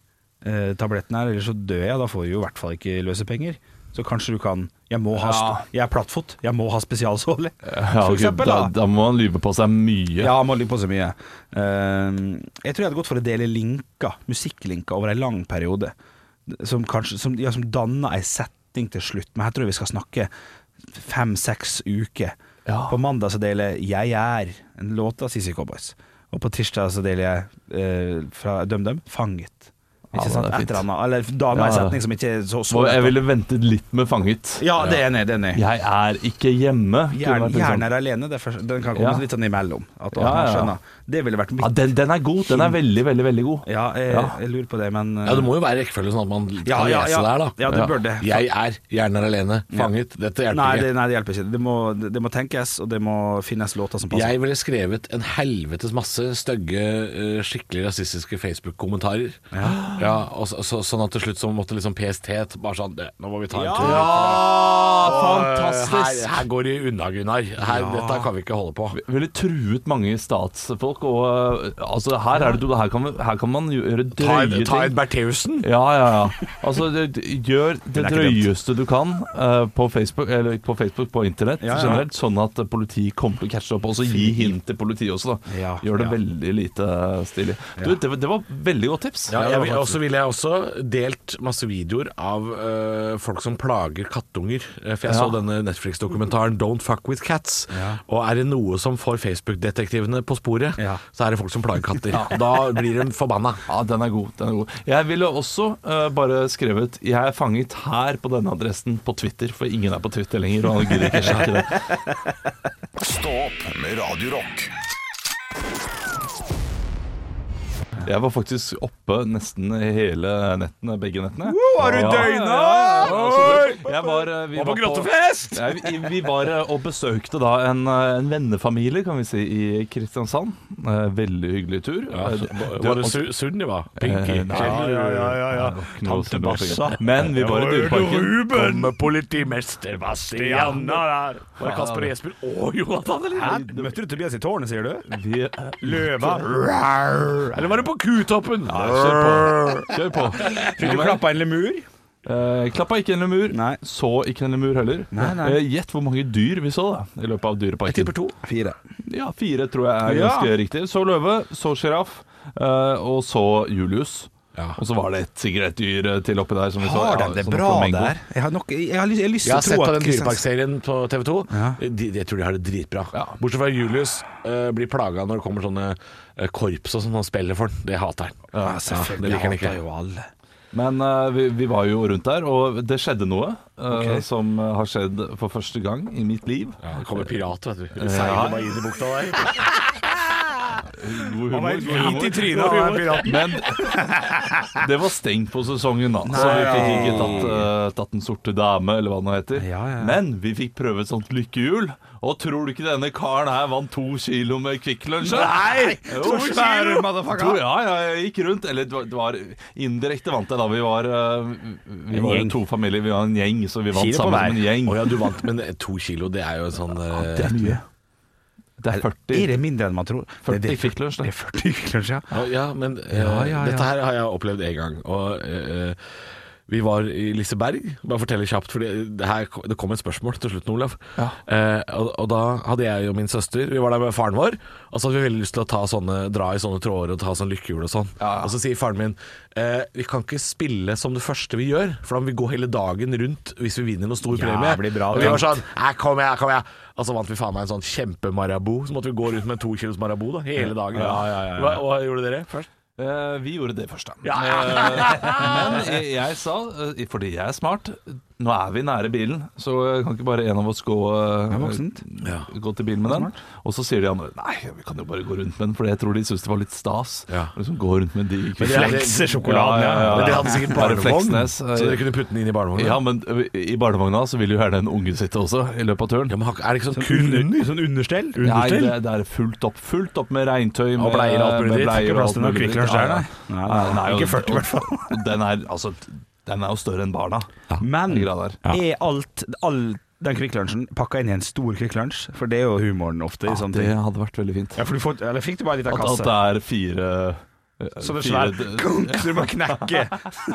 [SPEAKER 3] eh, tablettene her, ellers så dør jeg. Da får vi jo i hvert fall ikke løsepenger. Så kanskje du kan Jeg må ha
[SPEAKER 4] Ja.
[SPEAKER 3] Jeg er plattfot, jeg må ha spesialsåle.
[SPEAKER 4] Ja,
[SPEAKER 3] For
[SPEAKER 4] ok,
[SPEAKER 3] eksempel,
[SPEAKER 4] da,
[SPEAKER 3] da.
[SPEAKER 4] da må han lyve på seg mye.
[SPEAKER 3] Ja, man ligger på så mye. Ehm, jeg tror jeg hadde gått for å dele linker, musikklinker, over en lang periode. Som, kanskje, som, ja, som danner ei setning til slutt. Men her tror jeg vi skal snakke fem-seks uker.
[SPEAKER 4] Ja.
[SPEAKER 3] På mandag så deler jeg 'Jeg er' en låt av CC Cowboys. Og på tirsdag så deler jeg eh, fra DumDum 'Fanget'.
[SPEAKER 4] Ja,
[SPEAKER 3] Ikke
[SPEAKER 4] det
[SPEAKER 3] sant?
[SPEAKER 4] er
[SPEAKER 3] Et
[SPEAKER 4] fint.
[SPEAKER 3] eller annet. Eller danner ei
[SPEAKER 4] Ja.
[SPEAKER 3] setning som ikke sånn er så, så
[SPEAKER 4] Så jeg ville ventet litt med fanget.
[SPEAKER 3] Ja, det er enig. Det er enig.
[SPEAKER 4] Jeg er ikke hjemme. kunne
[SPEAKER 3] Hjernen,
[SPEAKER 4] vært en sånn-
[SPEAKER 3] hjernen er alene. Det er først- den kan komme
[SPEAKER 4] Ja.
[SPEAKER 3] litt sånn imellom. At, at
[SPEAKER 4] Ja,
[SPEAKER 3] man
[SPEAKER 4] ja, ja.
[SPEAKER 3] skjønner. Det ville vært mitt
[SPEAKER 4] ja, den, den er god. Den er veldig, veldig veldig god.
[SPEAKER 3] Ja, jeg,
[SPEAKER 4] Ja.
[SPEAKER 3] jeg lurer på det, men eh,
[SPEAKER 5] Ja, Det må jo være rekkefølge, sånn at man kan
[SPEAKER 3] ja, ja,
[SPEAKER 5] lese det her, da.
[SPEAKER 3] ja, det bør det.
[SPEAKER 5] Jeg er hjernen er alene, fanget. Dette hjelper
[SPEAKER 3] Nei,
[SPEAKER 5] ikke.
[SPEAKER 3] det, nei, det hjelper ikke. Det må, det må tenkes, og det må finnes låter som passer.
[SPEAKER 5] Jeg ville skrevet en helvetes masse stygge, eh, skikkelig rasistiske Facebook-kommentarer. (gasps) Ja. og så, så, sånn at til slutt så måtte liksom PST t- bare sånn "Det, Nå må vi ta en tur.
[SPEAKER 4] Ja,
[SPEAKER 5] Her, her går det unna, Gunnar. Her, Dette kan vi ikke holde på.
[SPEAKER 4] Ville truet mange statsfolk. Og, øh, altså, her, er det, du- her, kan, her kan man gjøre
[SPEAKER 5] Ta
[SPEAKER 4] drøye
[SPEAKER 5] en, ta en
[SPEAKER 4] ting.
[SPEAKER 5] Bertheussen.
[SPEAKER 4] Ja, ja, ja. Altså, det, det- gjør det
[SPEAKER 3] er ikke dumt.
[SPEAKER 4] drøyeste du kan øh, på Facebook, eller ikke på Facebook, på internett
[SPEAKER 3] Ja, ja.
[SPEAKER 4] generelt, sånn at politiet kommer til å catche opp. Og så gi hint til politiet også, da.
[SPEAKER 3] Ja,
[SPEAKER 4] gjør det
[SPEAKER 3] ja.
[SPEAKER 4] veldig lite stilig. Du, det, var- det var veldig godt tips.
[SPEAKER 5] Ja, jeg, vil- også ville jeg også delt masse videoer av øh, folk som plager kattunger. Eh, For jeg så
[SPEAKER 4] Ja.
[SPEAKER 5] denne Netflix-dokumentaren 'Don't Fuck With Cats'.
[SPEAKER 3] Ja.
[SPEAKER 5] Og er det noe som får Facebook-detektivene på sporet,
[SPEAKER 3] Ja.
[SPEAKER 5] så er det folk som plager katter. Da blir de forbanna.
[SPEAKER 4] Ja, den er god. den er god Jeg ville også eh, bare skrevet 'Jeg er fanget her på denne adressen' på Twitter, for ingen er på Twitter lenger. Og han gidder ikke sjekke det.
[SPEAKER 1] Stå opp med Radio Rock.
[SPEAKER 4] Jeg var faktisk oppe nesten hele nettene, begge nettene.
[SPEAKER 3] Har du
[SPEAKER 4] Ja,
[SPEAKER 3] døgna?
[SPEAKER 4] ja, ja, absolutt. Jeg var, eh, vi
[SPEAKER 5] Og
[SPEAKER 4] var
[SPEAKER 5] på grottefest!
[SPEAKER 4] Nei, vi, vi var eh, og besøkte da en, eh, en vennefamilie, kan vi si, i Kristiansand. Eh, Veldig hyggelig tur. Eh,
[SPEAKER 5] Var det Su- Sunniva? Pinky?
[SPEAKER 4] Eh, nei, ja,
[SPEAKER 5] ja, ja.
[SPEAKER 4] Tante Bassa. Men vi var i Dyreparken.
[SPEAKER 5] Kommer politimester Bastianna der. Var det Kasper og Jesper og Jonathan, eller?
[SPEAKER 3] Møtte du Tobias i tårnet, sier du?
[SPEAKER 4] Vi, eh,
[SPEAKER 5] Løva? Eller var det på Kutoppen?
[SPEAKER 4] ja, kjør på. Kjør på.
[SPEAKER 3] Fikk du klappa en lemur?
[SPEAKER 4] Eh, klappa ikke en lemur.
[SPEAKER 3] Nei.
[SPEAKER 4] Så ikke en lemur heller.
[SPEAKER 3] Nei, nei.
[SPEAKER 4] Eh, Gjett hvor mange dyr vi så da i løpet av Dyreparken.
[SPEAKER 5] to.
[SPEAKER 3] Fire.
[SPEAKER 4] Ja, Fire tror jeg er
[SPEAKER 3] Ja.
[SPEAKER 4] ganske riktig. Så løve, så sjiraff, eh, og så Julius.
[SPEAKER 5] Ja.
[SPEAKER 4] Og så var det et sigarettdyr eh, til oppi der. Som vi så,
[SPEAKER 3] Har
[SPEAKER 4] ja,
[SPEAKER 3] de det
[SPEAKER 4] sånn
[SPEAKER 3] bra
[SPEAKER 4] flamingo.
[SPEAKER 3] der? Jeg har, nok, jeg har, lyst, jeg har lyst
[SPEAKER 5] Jeg har
[SPEAKER 3] til
[SPEAKER 5] sett
[SPEAKER 3] å
[SPEAKER 5] på
[SPEAKER 3] tro at
[SPEAKER 5] den
[SPEAKER 3] Kristians-
[SPEAKER 5] dyreparkserien på TV 2.
[SPEAKER 3] Ja.
[SPEAKER 5] De, jeg tror de har det dritbra.
[SPEAKER 4] Ja.
[SPEAKER 5] Bortsett fra Julius eh, blir plaga når det kommer sånne eh, korps og sånn og spiller for han. Det hater han.
[SPEAKER 3] Ja, selvfølgelig
[SPEAKER 5] det liker han
[SPEAKER 3] hater
[SPEAKER 5] ikke.
[SPEAKER 3] jo alle.
[SPEAKER 4] Men eh, vi, vi var jo rundt der, og det skjedde noe eh,
[SPEAKER 3] Ok.
[SPEAKER 4] som eh, har skjedd for første gang i mitt liv.
[SPEAKER 5] Ja, det kommer pirater, vet du.
[SPEAKER 8] Seiler bare inn i bukta der.
[SPEAKER 4] (laughs) God humor,
[SPEAKER 3] Han var helt
[SPEAKER 4] god humor.
[SPEAKER 3] hvit i trynet, han der piraten.
[SPEAKER 4] Men (laughs) det var stengt på sesongen, da. Så vi fikk ikke tatt, eh, tatt Den sorte dame, eller hva det nå heter.
[SPEAKER 3] Ja, ja.
[SPEAKER 4] Men vi fikk prøve et sånt lykkehjul. Og tror du ikke denne karen her vant to kilo med Kvikk Lunsj? Nei!
[SPEAKER 3] To kilo, motherfucker.
[SPEAKER 4] Ja, ja, jeg gikk rundt. Eller det var- det var indirekte vant jeg da. Vi var, eh, vi
[SPEAKER 3] En
[SPEAKER 4] var
[SPEAKER 3] gjeng.
[SPEAKER 4] to familier, vi var en gjeng, så vi vant
[SPEAKER 8] Kilo på
[SPEAKER 4] sammen
[SPEAKER 8] hver.
[SPEAKER 4] som en gjeng.
[SPEAKER 5] Å ja, du vant, men to kilo, det er jo en sånn eh,
[SPEAKER 4] Det er mye. Det er 40.
[SPEAKER 3] Er det mindre enn man tror? Det
[SPEAKER 4] 40
[SPEAKER 3] er det-
[SPEAKER 4] Kvikk Lunsj, da.
[SPEAKER 3] Det er 40 Kviklunsj, ja.
[SPEAKER 5] Ja, ja men eh,
[SPEAKER 3] Ja, ja, ja.
[SPEAKER 5] dette her har jeg opplevd en gang. Og eh, vi var i Liseberg. Bare fortelle kjapt, for det, her, det kom et spørsmål til slutt, Olav.
[SPEAKER 4] Ja.
[SPEAKER 5] Eh, og, og da hadde jeg og min søster Vi var der med faren vår, og så hadde vi veldig lyst til å ta sånne, dra i sånne tråder og ta sånn lykkehjul og sånn.
[SPEAKER 4] Ja, ja.
[SPEAKER 5] Og så sier faren min eh, vi kan ikke spille som det første vi gjør, for da må vi gå hele dagen rundt hvis vi vinner noen stor
[SPEAKER 3] Ja,
[SPEAKER 5] premie.
[SPEAKER 3] det blir bra,
[SPEAKER 5] og vi
[SPEAKER 3] det.
[SPEAKER 5] var sånn Nei, kom igjen, kom igjen. Og så vant vi faen meg en sånn kjempemarabou. Så måtte vi gå rundt med en to kilos marabou da, hele dagen.
[SPEAKER 4] Ja, ja, ja, ja.
[SPEAKER 5] Hva, hva gjorde dere først?
[SPEAKER 4] Eh, vi gjorde det først, da. (laughs) Eh, men jeg, jeg sa, eh, fordi jeg er smart Nå er vi nære bilen, så eh, kan ikke bare en av oss gå, eh,
[SPEAKER 3] Det er voksent.
[SPEAKER 4] gå til bilen med den. Og så sier de andre nei, vi kan jo bare gå rundt med den, for jeg tror de syns det var litt stas.
[SPEAKER 5] Ja.
[SPEAKER 4] Liksom gå rundt med de
[SPEAKER 5] hadde-
[SPEAKER 3] Flekser sjokoladen, ja.
[SPEAKER 5] Men dere hadde sikkert
[SPEAKER 4] Bare
[SPEAKER 5] barnevogn,
[SPEAKER 4] Fleksnes, eh,
[SPEAKER 5] så dere kunne putte den inn i barnevogna.
[SPEAKER 4] Ja, men eh, i barnevogna så vil jo gjerne en unge sitte også, i løpet av turen.
[SPEAKER 5] Ja, men har- er det ikke sånn
[SPEAKER 3] Sånn
[SPEAKER 5] kun
[SPEAKER 3] under- Sånn understell?
[SPEAKER 4] Nei, det, det er fullt opp. Fullt opp med regntøy.
[SPEAKER 5] Og bleier og alt mulig dritt.
[SPEAKER 4] bleier
[SPEAKER 3] Ikke
[SPEAKER 4] og
[SPEAKER 3] plass til
[SPEAKER 4] alt
[SPEAKER 3] noe
[SPEAKER 4] mulig
[SPEAKER 3] Kvikk
[SPEAKER 4] dritt.
[SPEAKER 3] Lunsj der,
[SPEAKER 4] Ja, ja.
[SPEAKER 3] nei. Nei,
[SPEAKER 4] Nei,
[SPEAKER 3] nei,
[SPEAKER 4] nei, og-
[SPEAKER 3] ikke 40 i hvert fall.
[SPEAKER 4] og (laughs) Den er, altså, den er jo større enn barna.
[SPEAKER 3] Men
[SPEAKER 4] i grad der.
[SPEAKER 3] er alt, all den Kvikk Lunsjen pakka inn i en stor Kvikk Lunsj? For det er jo humoren ofte i sånne
[SPEAKER 4] det
[SPEAKER 3] ting.
[SPEAKER 4] hadde vært veldig fint.
[SPEAKER 3] Ja, for du får, eller fikk du bare en liten
[SPEAKER 4] At, at
[SPEAKER 3] kasse?
[SPEAKER 4] det er fire eh,
[SPEAKER 3] Sånn en
[SPEAKER 4] fire
[SPEAKER 3] svær
[SPEAKER 4] d-
[SPEAKER 3] gunk du må
[SPEAKER 4] (laughs)
[SPEAKER 3] knekke.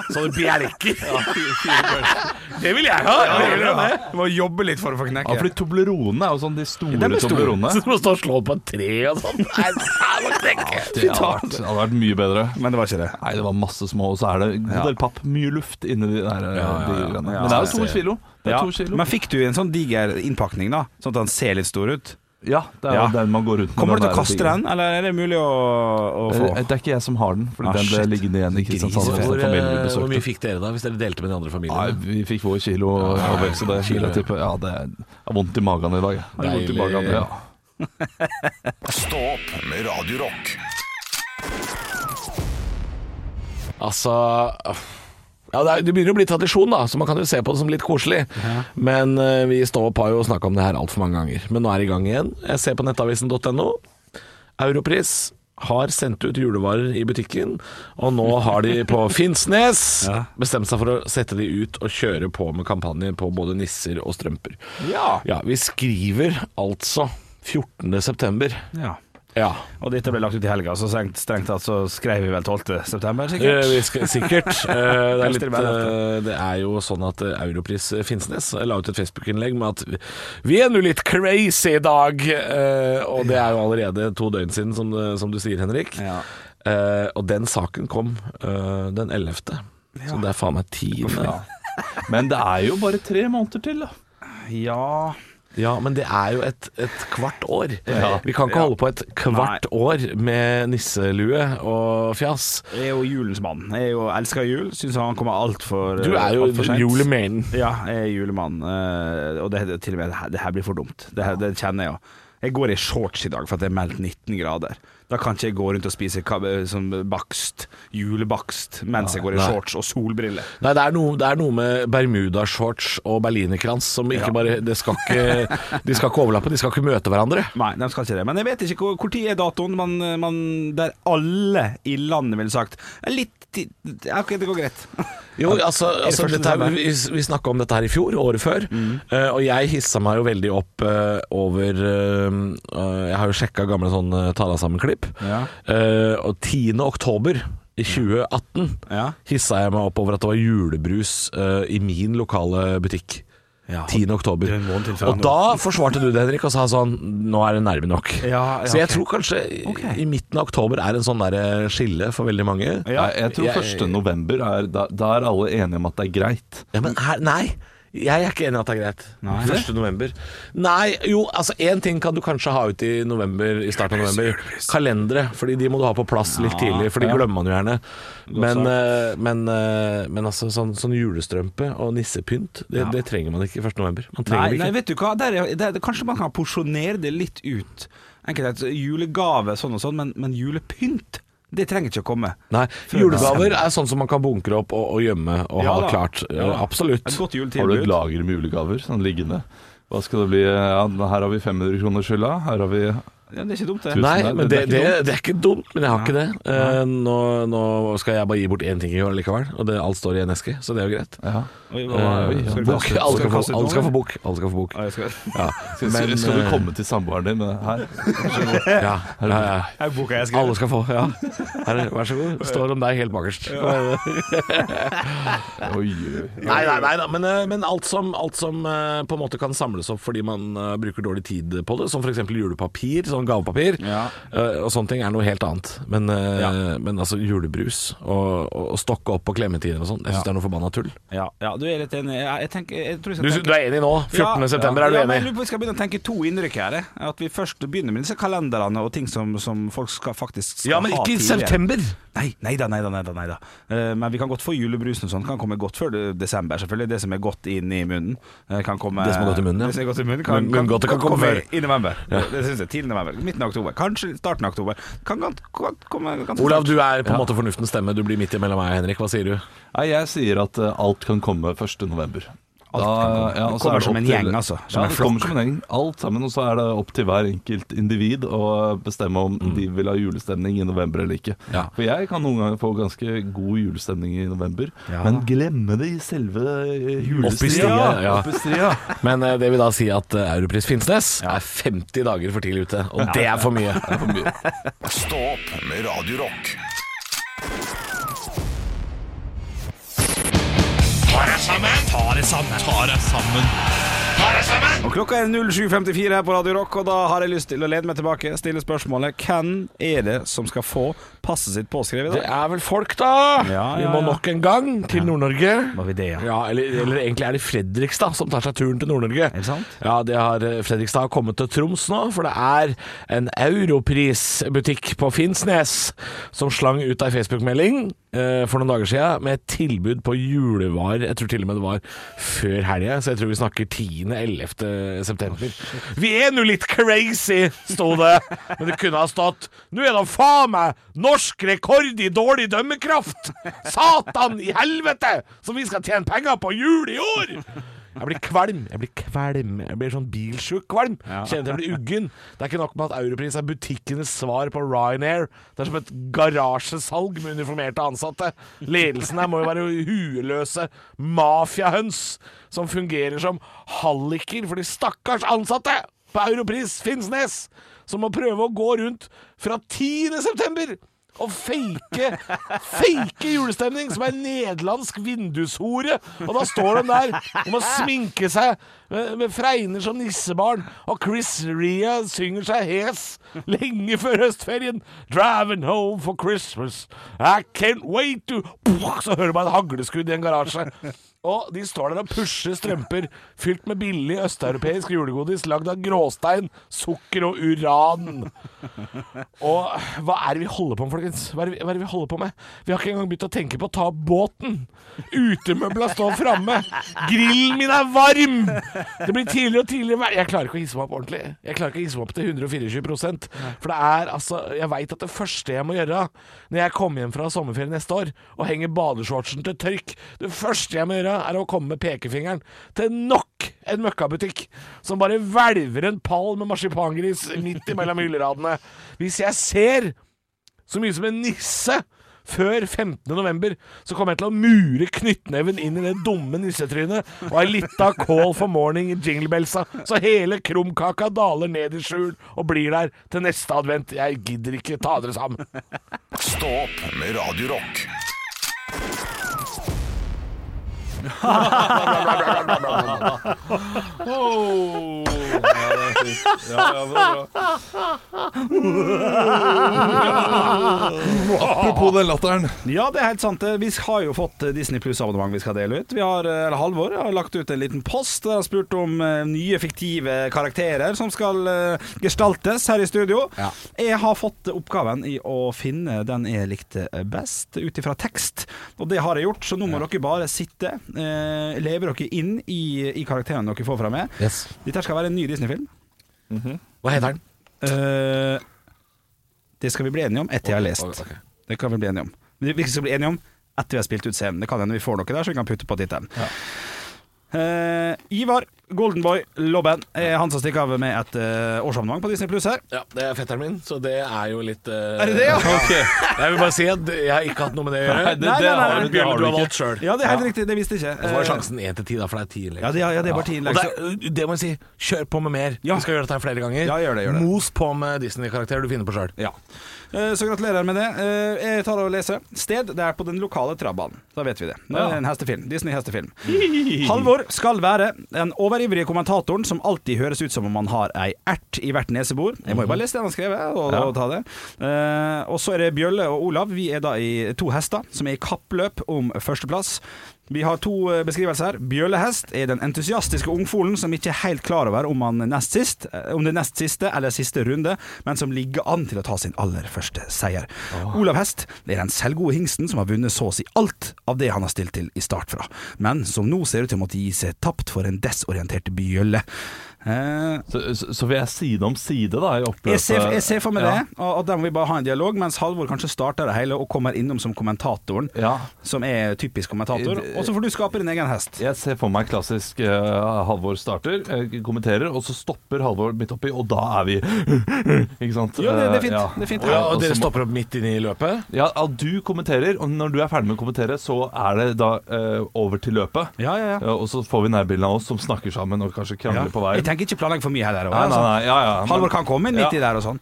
[SPEAKER 5] sånne
[SPEAKER 3] (laughs)
[SPEAKER 5] bjelker?
[SPEAKER 4] ja, fire- fire børser.
[SPEAKER 5] Det vil jeg ha! Jeg vil ha det.
[SPEAKER 3] Du må jobbe litt for å få
[SPEAKER 4] ja,
[SPEAKER 3] knekke.
[SPEAKER 4] fordi Toblerone er jo sånn de store
[SPEAKER 3] Ja, de er store. (laughs)
[SPEAKER 4] Toblerone.
[SPEAKER 5] Så du må stå og slå på et tre og sånn. Nei, jeg må knekke.
[SPEAKER 4] Det hadde vært, hadde vært mye bedre.
[SPEAKER 3] Men det var ikke det.
[SPEAKER 4] Nei, det var masse små, og så er det en god del papp. Mye luft inni de der. eh,
[SPEAKER 5] Ja, ja, ja.
[SPEAKER 4] de greiene.
[SPEAKER 3] Ja,
[SPEAKER 4] Men det er jo
[SPEAKER 5] jeg
[SPEAKER 4] to
[SPEAKER 5] ser.
[SPEAKER 4] kilo. Det er
[SPEAKER 3] Ja.
[SPEAKER 4] to kilo.
[SPEAKER 3] Men fikk du en sånn diger innpakning, da? Sånn at den ser litt stor ut?
[SPEAKER 4] ja, det er jo
[SPEAKER 3] Ja.
[SPEAKER 4] den man går rundt med.
[SPEAKER 3] Kommer du til
[SPEAKER 4] der
[SPEAKER 3] å kaste
[SPEAKER 4] tigeren.
[SPEAKER 3] den, eller er det mulig å, å få?
[SPEAKER 4] Eh, Det er ikke jeg som har den, for
[SPEAKER 3] Ah,
[SPEAKER 4] den ble
[SPEAKER 3] shit.
[SPEAKER 4] liggende igjen i Kristiansand.
[SPEAKER 3] Gris,
[SPEAKER 4] hos
[SPEAKER 5] Hvor,
[SPEAKER 4] den familien vi
[SPEAKER 5] eh, hvor mye
[SPEAKER 4] besøkte.
[SPEAKER 5] fikk dere da, hvis dere delte med de andre
[SPEAKER 4] sånn Nei,
[SPEAKER 5] familiene?
[SPEAKER 4] vi fikk vår kilo og vel så det.
[SPEAKER 5] Kilo, ja.
[SPEAKER 4] Jeg tipper- Ja, det er vondt i magen i dag. jeg. Det er vondt i
[SPEAKER 5] Deilig.
[SPEAKER 4] magen, ja.
[SPEAKER 1] Stå opp med Radio Rock.
[SPEAKER 5] Altså ja, det, er, det begynner å bli tradisjon, da, så man kan jo se på det som litt koselig. Men eh, vi i Stå opp har jo snakka om det her altfor mange ganger. Men nå er det i gang igjen. Jeg ser på nettavisen.no. Europris har sendt ut julevarer i butikken, og nå har de på Finnsnes bestemt seg for å sette de ut og kjøre på med kampanje på både nisser og strømper.
[SPEAKER 3] Ja.
[SPEAKER 5] Ja, vi skriver altså 14. september.
[SPEAKER 4] eh,
[SPEAKER 3] ja.
[SPEAKER 5] Ja.
[SPEAKER 3] Og dette ble lagt ut i helga, så strengt, strengt tatt så skrev vi vel 12. september,
[SPEAKER 5] Eh,
[SPEAKER 3] sikkert?
[SPEAKER 5] vi skal, sikkert.
[SPEAKER 3] (laughs)
[SPEAKER 5] Eh, det, er
[SPEAKER 3] Jeg
[SPEAKER 5] litt,
[SPEAKER 3] stiller meg
[SPEAKER 5] eh, det er jo sånn at eh, Europris eh, Finnsnes la ut et Facebook-innlegg med at vi er nå litt crazy i dag. eh, og det er jo allerede to døgn siden, som, det- som du sier, Henrik.
[SPEAKER 3] Ja.
[SPEAKER 5] Eh, og den saken kom eh, den 11. Så det er faen meg tiende.
[SPEAKER 4] Men det er jo bare tre måneder til, da.
[SPEAKER 3] Ja
[SPEAKER 5] Ja, men det er jo et, et kvart år.
[SPEAKER 4] Ja.
[SPEAKER 5] Vi kan ikke holde på et kvart år med nisselue og fjas.
[SPEAKER 3] Jeg er jo julens mann. Jeg er jo elsker jul. Syns han kommer altfor
[SPEAKER 5] Du er
[SPEAKER 3] Eh,
[SPEAKER 5] jo
[SPEAKER 3] alt for sent.
[SPEAKER 5] julemanen.
[SPEAKER 3] Ja, jeg er julemann. eh, Og det, det, til og med det her, det her blir for dumt. Det, her, det kjenner jeg jo. Jeg går i shorts i dag for at det er meldt 19 grader. Da kan ikke jeg gå rundt og spise ka- eh, sånn bakst, julebakst, mens jeg går i
[SPEAKER 5] Nei.
[SPEAKER 3] shorts og solbriller.
[SPEAKER 5] Nei, det er noe, det er noe med bermudashorts og berlinerkrans som ikke bare det skal ikke, De skal ikke overlappe, de skal ikke møte hverandre.
[SPEAKER 3] Nei, de skal ikke det. Men jeg vet ikke hvor, hvor tid er datoen man, man, der alle i landet ville sagt "Eh, Litt tid ja, OK, det går greit.
[SPEAKER 5] (laughs) Jo, altså, altså
[SPEAKER 3] første Mm.
[SPEAKER 5] dette, her-
[SPEAKER 3] desember?
[SPEAKER 5] vi, vi snakka om dette her i fjor, året før, eh, og jeg hissa meg jo veldig opp eh, over eh, eh, Jeg har jo sjekka gamle sånne tala-sammen-klipp,
[SPEAKER 3] Ja.
[SPEAKER 5] eh, og 10. oktober i 2018
[SPEAKER 3] Ja.
[SPEAKER 5] hissa jeg meg opp over at det var julebrus eh, i min lokale butikk.
[SPEAKER 3] Ja, og
[SPEAKER 5] 10.
[SPEAKER 3] det
[SPEAKER 5] oktober.
[SPEAKER 3] er en måned til før
[SPEAKER 5] Og
[SPEAKER 3] nå.
[SPEAKER 5] da forsvarte du det, Henrik, og sa sånn Nå er det nærme nok.
[SPEAKER 3] Ja, ja,
[SPEAKER 5] Så jeg
[SPEAKER 3] ok.
[SPEAKER 5] tror kanskje i- i midten av oktober er en sånn der skille for veldig mange.
[SPEAKER 3] Ja.
[SPEAKER 4] Nei, jeg tror
[SPEAKER 5] Jeg-
[SPEAKER 4] 1. november er da, da er alle enige om at det er greit.
[SPEAKER 5] Ja, men her, nei. Jeg er ikke enig i at det er greit.
[SPEAKER 3] Nei.
[SPEAKER 5] 1. november. Nei, jo, altså én ting kan du kanskje ha ut i november I starten av november. Kalendere. Fordi de må du ha på plass litt tidlig, for de
[SPEAKER 3] ja.
[SPEAKER 5] glemmer man jo gjerne. Men,
[SPEAKER 3] sagt.
[SPEAKER 5] eh, men, eh, men altså sånn, sånn julestrømpe og nissepynt, det, det trenger man ikke 1. november. Man trenger
[SPEAKER 3] Nei,
[SPEAKER 5] det
[SPEAKER 3] nei,
[SPEAKER 5] ikke.
[SPEAKER 3] vet du hva? Der, er- der, kanskje man kan porsjonere det litt ut. Enkelt et julegave sånn og sånn, men, men julepynt, det trenger ikke å komme.
[SPEAKER 5] Nei,
[SPEAKER 3] Før
[SPEAKER 5] Julegaver er sånn som man kan bunkre opp og, og gjemme og
[SPEAKER 3] Ja
[SPEAKER 5] ha
[SPEAKER 3] da.
[SPEAKER 5] klart. eh,
[SPEAKER 3] Ja da.
[SPEAKER 5] Absolutt.
[SPEAKER 3] Et godt
[SPEAKER 4] Har du
[SPEAKER 3] juletilbud.
[SPEAKER 4] et lager med julegaver sånn liggende? Hva skal det bli? Ja, her har vi 500 kroner skylda. Her har vi
[SPEAKER 3] Ja, det er ikke dumt, det.
[SPEAKER 4] Tusen
[SPEAKER 5] Nei,
[SPEAKER 4] der,
[SPEAKER 5] men
[SPEAKER 4] det
[SPEAKER 5] det,
[SPEAKER 4] er
[SPEAKER 5] det,
[SPEAKER 4] ikke
[SPEAKER 5] det er ikke dumt, men jeg har ikke det. Eh, nå, nå skal jeg bare gi bort én ting i år likevel, og det, alt står i en eske, så det er jo greit.
[SPEAKER 4] ja.
[SPEAKER 3] Oi, hva-
[SPEAKER 5] Eh,
[SPEAKER 3] skal
[SPEAKER 5] (laughs)
[SPEAKER 3] du
[SPEAKER 5] bok.
[SPEAKER 3] kaste-
[SPEAKER 5] Alle skal få-
[SPEAKER 3] kaste ut
[SPEAKER 5] alle skal
[SPEAKER 3] noe,
[SPEAKER 5] få bok. Alle skal få bok.
[SPEAKER 3] eller? Ja, jeg
[SPEAKER 5] (laughs)
[SPEAKER 3] skal-
[SPEAKER 5] Ja.
[SPEAKER 4] skal,
[SPEAKER 5] Men,
[SPEAKER 4] skal du
[SPEAKER 5] eh,
[SPEAKER 4] komme til samboeren din med her?
[SPEAKER 5] (laughs) Ja, ja, ja.
[SPEAKER 3] Her er boka jeg skrev.
[SPEAKER 5] Alle skal få,
[SPEAKER 3] (laughs)
[SPEAKER 5] ja. Her, vær så god. Står om deg helt bakerst.
[SPEAKER 4] Oi, oi. oi.
[SPEAKER 5] Nei, nei, nei da. Men, eh, men alt som, alt som eh, på en måte kan samles opp fordi man eh, bruker dårlig tid på det, som f.eks. julepapir, sånn gavepapir,
[SPEAKER 3] Ja.
[SPEAKER 5] eh, og sånne ting, er noe helt annet. Men, eh,
[SPEAKER 3] Ja.
[SPEAKER 5] men altså julebrus og, og, og stokke opp på klemmetider og sånn, jeg syns det er noe forbanna tull.
[SPEAKER 3] Ja, ja, du er litt enig. Jeg, jeg tenker, jeg tror jeg
[SPEAKER 5] Du,
[SPEAKER 3] skal tenke-
[SPEAKER 5] du er enig nå? 14. september, er du
[SPEAKER 3] ja, men jeg
[SPEAKER 5] enig?
[SPEAKER 3] lurer på om Vi skal begynne å tenke to innrykk her. eh. At vi først begynner med disse kalenderene og ting som, som folk skal, faktisk skal
[SPEAKER 5] Ja, men
[SPEAKER 3] ha
[SPEAKER 5] ikke i
[SPEAKER 3] tidligere.
[SPEAKER 5] september!
[SPEAKER 3] Nei, nei da, nei da, nei da, nei da. Eh, Men vi kan godt få julebrusen og sånn. Kan komme godt før det- desember, selvfølgelig. Det som er godt inn i munnen. eh, Kan komme,
[SPEAKER 5] Det som er godt i munnen, ja.
[SPEAKER 3] Det som er godt i munnen kan,
[SPEAKER 5] Men- men godt det kan komme før.
[SPEAKER 3] i november. Det, det synes jeg. Tidlig november. Midten av oktober. Kanskje starten av oktober. Kan godt godt komme ganske
[SPEAKER 5] Olav,
[SPEAKER 3] snart.
[SPEAKER 5] du er på en måte fornuftens stemme. Du blir midt imellom meg og Henrik. Hva sier du?
[SPEAKER 4] Nei, jeg sier at eh, alt kan komme 1. november.
[SPEAKER 3] Alt kan komme.
[SPEAKER 4] ja, og
[SPEAKER 3] Det
[SPEAKER 4] så
[SPEAKER 3] kommer
[SPEAKER 4] er det
[SPEAKER 3] som
[SPEAKER 4] opp
[SPEAKER 3] en
[SPEAKER 4] til-
[SPEAKER 3] gjeng, altså, som
[SPEAKER 4] ja,
[SPEAKER 3] en
[SPEAKER 4] det
[SPEAKER 3] flokk.
[SPEAKER 4] kommer som en gjeng. Alt sammen. Og så er det opp til hver enkelt individ å bestemme om
[SPEAKER 3] Mm.
[SPEAKER 4] de vil ha julestemning i november eller ikke.
[SPEAKER 5] Ja.
[SPEAKER 4] For jeg kan noen ganger få ganske god julestemning i november,
[SPEAKER 3] Ja.
[SPEAKER 4] men glemme det i selve eh,
[SPEAKER 5] Opp i
[SPEAKER 4] julestria.
[SPEAKER 5] stia, ja.
[SPEAKER 4] Opp i stia.
[SPEAKER 5] Men eh, det vil da si at eh, Europris Finnsnes er 50 dager for tidlig ute, og det er for mye.
[SPEAKER 1] Stå opp med Radio Rock.
[SPEAKER 3] Og Klokka er 07.54 her på Radio Rock, og da har jeg lyst til å lede meg tilbake. Stille spørsmålet hvem er det som skal få passet sitt påskrevet i
[SPEAKER 5] Det
[SPEAKER 3] dag?
[SPEAKER 5] er vel folk, da!
[SPEAKER 3] ja,
[SPEAKER 5] Vi må
[SPEAKER 3] ja.
[SPEAKER 5] nok en gang til Nord-Norge.
[SPEAKER 3] Var vi det, ja?
[SPEAKER 5] Ja, eller, eller egentlig er det Fredrikstad som tar seg turen til Nord-Norge.
[SPEAKER 3] det sant?
[SPEAKER 5] Ja, det har eh, Fredrikstad har kommet til Troms nå, for det er en Europris-butikk på Finnsnes som slang ut ei Facebook-melding eh, for noen dager siden med et tilbud på julevarer. Jeg tror til og med det var før helga, så jeg tror vi snakker 10.-11. september. Vi er nå litt crazy, sto det. Men det kunne ha stått Nå er det faen meg norsk rekord i dårlig dømmekraft! Satan i helvete! Som vi skal tjene penger på jul i år! Jeg blir kvalm. Jeg blir kvalm Jeg blir sånn bilsjuk kvalm. Kjenner at jeg blir uggen. Det er ikke nok med at Europris er butikkenes svar på Ryanair. Det er som et garasjesalg med uniformerte ansatte. Ledelsen her må jo være hueløse mafiahøns som fungerer som halliker for de stakkars ansatte på Europris Finnsnes, som må prøve å gå rundt fra 10. september og fake, fake julestemning som ei nederlandsk vindushore. Og da står de der og må sminke seg med, med fregner som nissebarn. Og Chris Ria synger seg hes lenge før høstferien. 'Driving home for Christmas, I can't wait to' Så hører man et hagleskudd i en garasje. Og de står der og pusher strømper fylt med billig østeuropeisk julegodis lagd av gråstein, sukker og uran. Og hva er det vi holder på med, folkens? Hva er, det vi, hva er det vi holder på med? Vi har ikke engang begynt å tenke på å ta opp båten. Utemøbla står framme. Grillen min er varm! Det blir tidligere og tidligere vær. Jeg klarer ikke å hisse meg opp ordentlig. Jeg klarer ikke å hisse meg opp til 124 For det er altså Jeg veit at det første jeg må gjøre når jeg kommer hjem fra sommerferie neste år og henger badeshortsen til tørk Det første jeg må gjøre, er å komme med pekefingeren til nok en møkkabutikk som bare hvelver en pall med marsipangris midt imellom hylleradene. Hvis jeg ser så mye som en nisse før 15. november, så kommer jeg til å mure knyttneven inn i det dumme nissetrynet og ei lita call for morning i jinglebellsa, så hele krumkaka daler ned i skjul og blir der til neste advent. Jeg gidder ikke ta dere sammen.
[SPEAKER 1] Stå opp med Radio Rock.
[SPEAKER 4] Oh, ja, det er fint. Ja, ja, det er bra. Apropos den latteren.
[SPEAKER 3] Ja, det er helt sant. Vi har jo fått Disney Pluss-abonnement vi skal dele ut. Vi har, eller Halvor har lagt ut en liten post der han spurte om eh, nye fiktive karakterer som skal eh, gestaltes her i studio.
[SPEAKER 5] Ja.
[SPEAKER 3] Jeg har fått oppgaven i å finne den jeg likte eh, best, ut ifra tekst. Og det har jeg gjort, så nå må dere bare sitte, eh, leve dere inn i, i karakterene dere får fra meg.
[SPEAKER 5] Yes.
[SPEAKER 3] Dette skal være en ny Disney-film.
[SPEAKER 5] Hva heter den?
[SPEAKER 3] Eh, det skal vi bli enige om etter jeg har lest.
[SPEAKER 5] Ok, ok.
[SPEAKER 3] Det kan vi bli enige om. Men vi skal bli enige om etter vi har spilt ut scenen. Det kan hende vi får noe der, så vi kan putte på tittelen. Eh, Ivar Goldenboy Lobben er han som stikker av med et eh, årsabonnement på Disney Pluss her.
[SPEAKER 5] Ja, det er fetteren min, så det er jo litt eh,
[SPEAKER 3] Er det det,
[SPEAKER 5] (laughs)
[SPEAKER 3] ja?
[SPEAKER 5] Jeg vil bare si at jeg har ikke hatt noe med det å gjøre.
[SPEAKER 4] Nei, det, det har du, det
[SPEAKER 5] Bjørn,
[SPEAKER 4] har du
[SPEAKER 5] du har
[SPEAKER 4] ikke.
[SPEAKER 5] valgt sjøl.
[SPEAKER 3] Ja, det er helt riktig. Det visste jeg ikke. Eh,
[SPEAKER 5] Så var sjansen én til ti, da, for det er ti innlegg.
[SPEAKER 3] Ja, det- ja, ja, det er bare ti innlegg,
[SPEAKER 5] Og Det, er- det må jeg si, kjør på med mer.
[SPEAKER 3] Ja.
[SPEAKER 5] Du skal gjøre dette her flere ganger.
[SPEAKER 3] Ja, gjør det, gjør det.
[SPEAKER 5] Mos på med Disney-karakterer du finner på sjøl.
[SPEAKER 3] Eh, ja. Eh, Så gratulerer med det. Eh, Jeg tar og leser. Sted det er på den lokale trabbanen. Da vet vi det. Det er en hestefilm. Disney-hestefilm. Halvor skal være den overivrige kommentatoren som alltid høres ut som om han har ei ert i hvert nesebor. Jeg må jo bare lese det han har skrevet, og, og ta det. Eh, og så er det Bjølle og Olav. Vi er da i to hester som er i kappløp om førsteplass. Vi har to eh, beskrivelser her. Bjøllehest er den entusiastiske ungfolen som ikke er helt klar over om, han nest sist, eh, om det er nest siste eller siste runde, men som ligger an til å ta sin aller første seier. Olav Hest det er den selvgode hingsten som har vunnet så å si alt av det han har stilt til i start fra, men som nå ser ut til å måtte gi seg tapt for en desorientert bjølle. Eh,
[SPEAKER 4] Så, så, så vi er side om side, da, i oppløpet.
[SPEAKER 3] jeg ser, jeg ser for meg
[SPEAKER 4] Ja.
[SPEAKER 3] det, og, og der må vi bare ha en dialog, mens Halvor kanskje starter det hele og kommer innom som kommentatoren,
[SPEAKER 4] Ja.
[SPEAKER 3] som er typisk kommentator. Og så får du skape din egen hest.
[SPEAKER 4] Jeg ser for meg klassisk eh, Halvor starter, eh, kommenterer, og så stopper Halvor midt oppi, og da er vi (laughs) Ikke sant?
[SPEAKER 3] Jo, det, det er
[SPEAKER 4] Eh,
[SPEAKER 3] fint.
[SPEAKER 4] ja.
[SPEAKER 3] Det er fint.
[SPEAKER 5] Og, ja, og
[SPEAKER 4] så
[SPEAKER 5] dere
[SPEAKER 4] må-
[SPEAKER 5] stopper opp midt inne i løpet.
[SPEAKER 4] Ja, ja, du kommenterer, og når du er ferdig med å kommentere, så er det da eh, over til løpet.
[SPEAKER 3] Ja, ja, ja.
[SPEAKER 4] Eh, og så får vi nærbilden av oss som snakker sammen og kanskje krangler på veien.
[SPEAKER 3] Jeg tenker ikke planlegge for mye heller. altså.
[SPEAKER 4] Nei, nei, nei, ja, ja, men-
[SPEAKER 3] Halvor kan komme inn midt
[SPEAKER 4] Ja.
[SPEAKER 3] i der og sånn.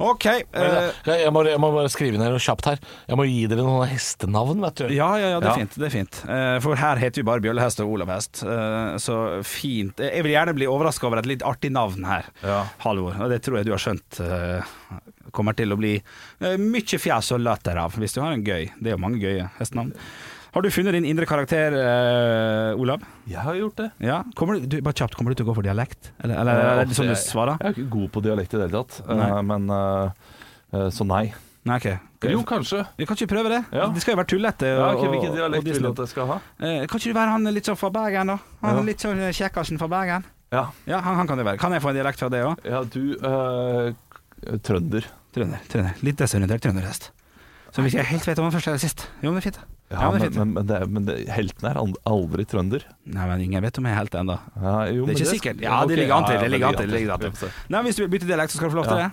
[SPEAKER 3] OK. eh,
[SPEAKER 5] Ja, jeg, må, jeg må bare skrive ned noe kjapt her. Jeg må gi dere noen hestenavn, vet du.
[SPEAKER 3] ja, ja, ja, det
[SPEAKER 4] Ja.
[SPEAKER 3] er fint. det er fint Eh, For her heter vi bare Bjøllehest og Olav Hest. Eh, så fint. Eh, Jeg vil gjerne bli overraska over et litt artig navn her,
[SPEAKER 4] Ja.
[SPEAKER 3] Halvor. Og det tror jeg du har skjønt eh, kommer til å bli eh, mye fjas og latter av, hvis du har en gøy. Det er jo mange gøye hestenavn. Har du funnet din indre karakter, eh, Olav?
[SPEAKER 4] Jeg har gjort det.
[SPEAKER 3] Ja? Kommer du, du, bare kjapt, kommer du til å gå for dialekt? Eller, eller, eller er det sånn du
[SPEAKER 4] Jeg-
[SPEAKER 3] svarer?
[SPEAKER 4] Jeg er ikke god på dialekt i det hele tatt, eh,
[SPEAKER 3] Nei.
[SPEAKER 4] men eh, eh, Så nei.
[SPEAKER 3] Nei, ok.
[SPEAKER 4] Jo, kanskje.
[SPEAKER 3] Vi kan ikke prøve det?
[SPEAKER 4] Ja.
[SPEAKER 3] Det skal jo være tullete.
[SPEAKER 4] Ja,
[SPEAKER 3] og-
[SPEAKER 4] ok, Hvilken
[SPEAKER 3] og- og
[SPEAKER 4] dialekt vil du
[SPEAKER 3] Disney.
[SPEAKER 4] at jeg skal ha?
[SPEAKER 3] Eh, Kan ikke du være han litt sånn fra Bergen, da? Han
[SPEAKER 4] Ja.
[SPEAKER 3] litt sånn eh, kjekkasen fra Bergen.
[SPEAKER 4] Ja,
[SPEAKER 3] Ja, han, han kan det være. Kan jeg få en dialekt fra det òg?
[SPEAKER 4] ja du eh, k- Trønder.
[SPEAKER 3] Trønder. trønder. Litt desorientert trønderhest. Som ikke jeg helt vet om han første eller sist. Jo, men det er fint.
[SPEAKER 4] Ja,
[SPEAKER 3] Ja, men
[SPEAKER 4] men,
[SPEAKER 3] fint.
[SPEAKER 4] men, men, det, er- men det, helten er an- aldri trønder.
[SPEAKER 3] Nei, men ingen vet om jeg er helt ennå.
[SPEAKER 4] Ja, jo,
[SPEAKER 3] Det er
[SPEAKER 4] men
[SPEAKER 3] ikke sikkert. Ja, det
[SPEAKER 4] ok,
[SPEAKER 3] ligger an til.
[SPEAKER 4] ja,
[SPEAKER 3] Det
[SPEAKER 4] ja,
[SPEAKER 3] ligger an til. det ligger an
[SPEAKER 4] Ja,
[SPEAKER 3] til. Nei, men Hvis du vil bytte dialekt, så skal du få lov til
[SPEAKER 4] Ja.
[SPEAKER 3] det.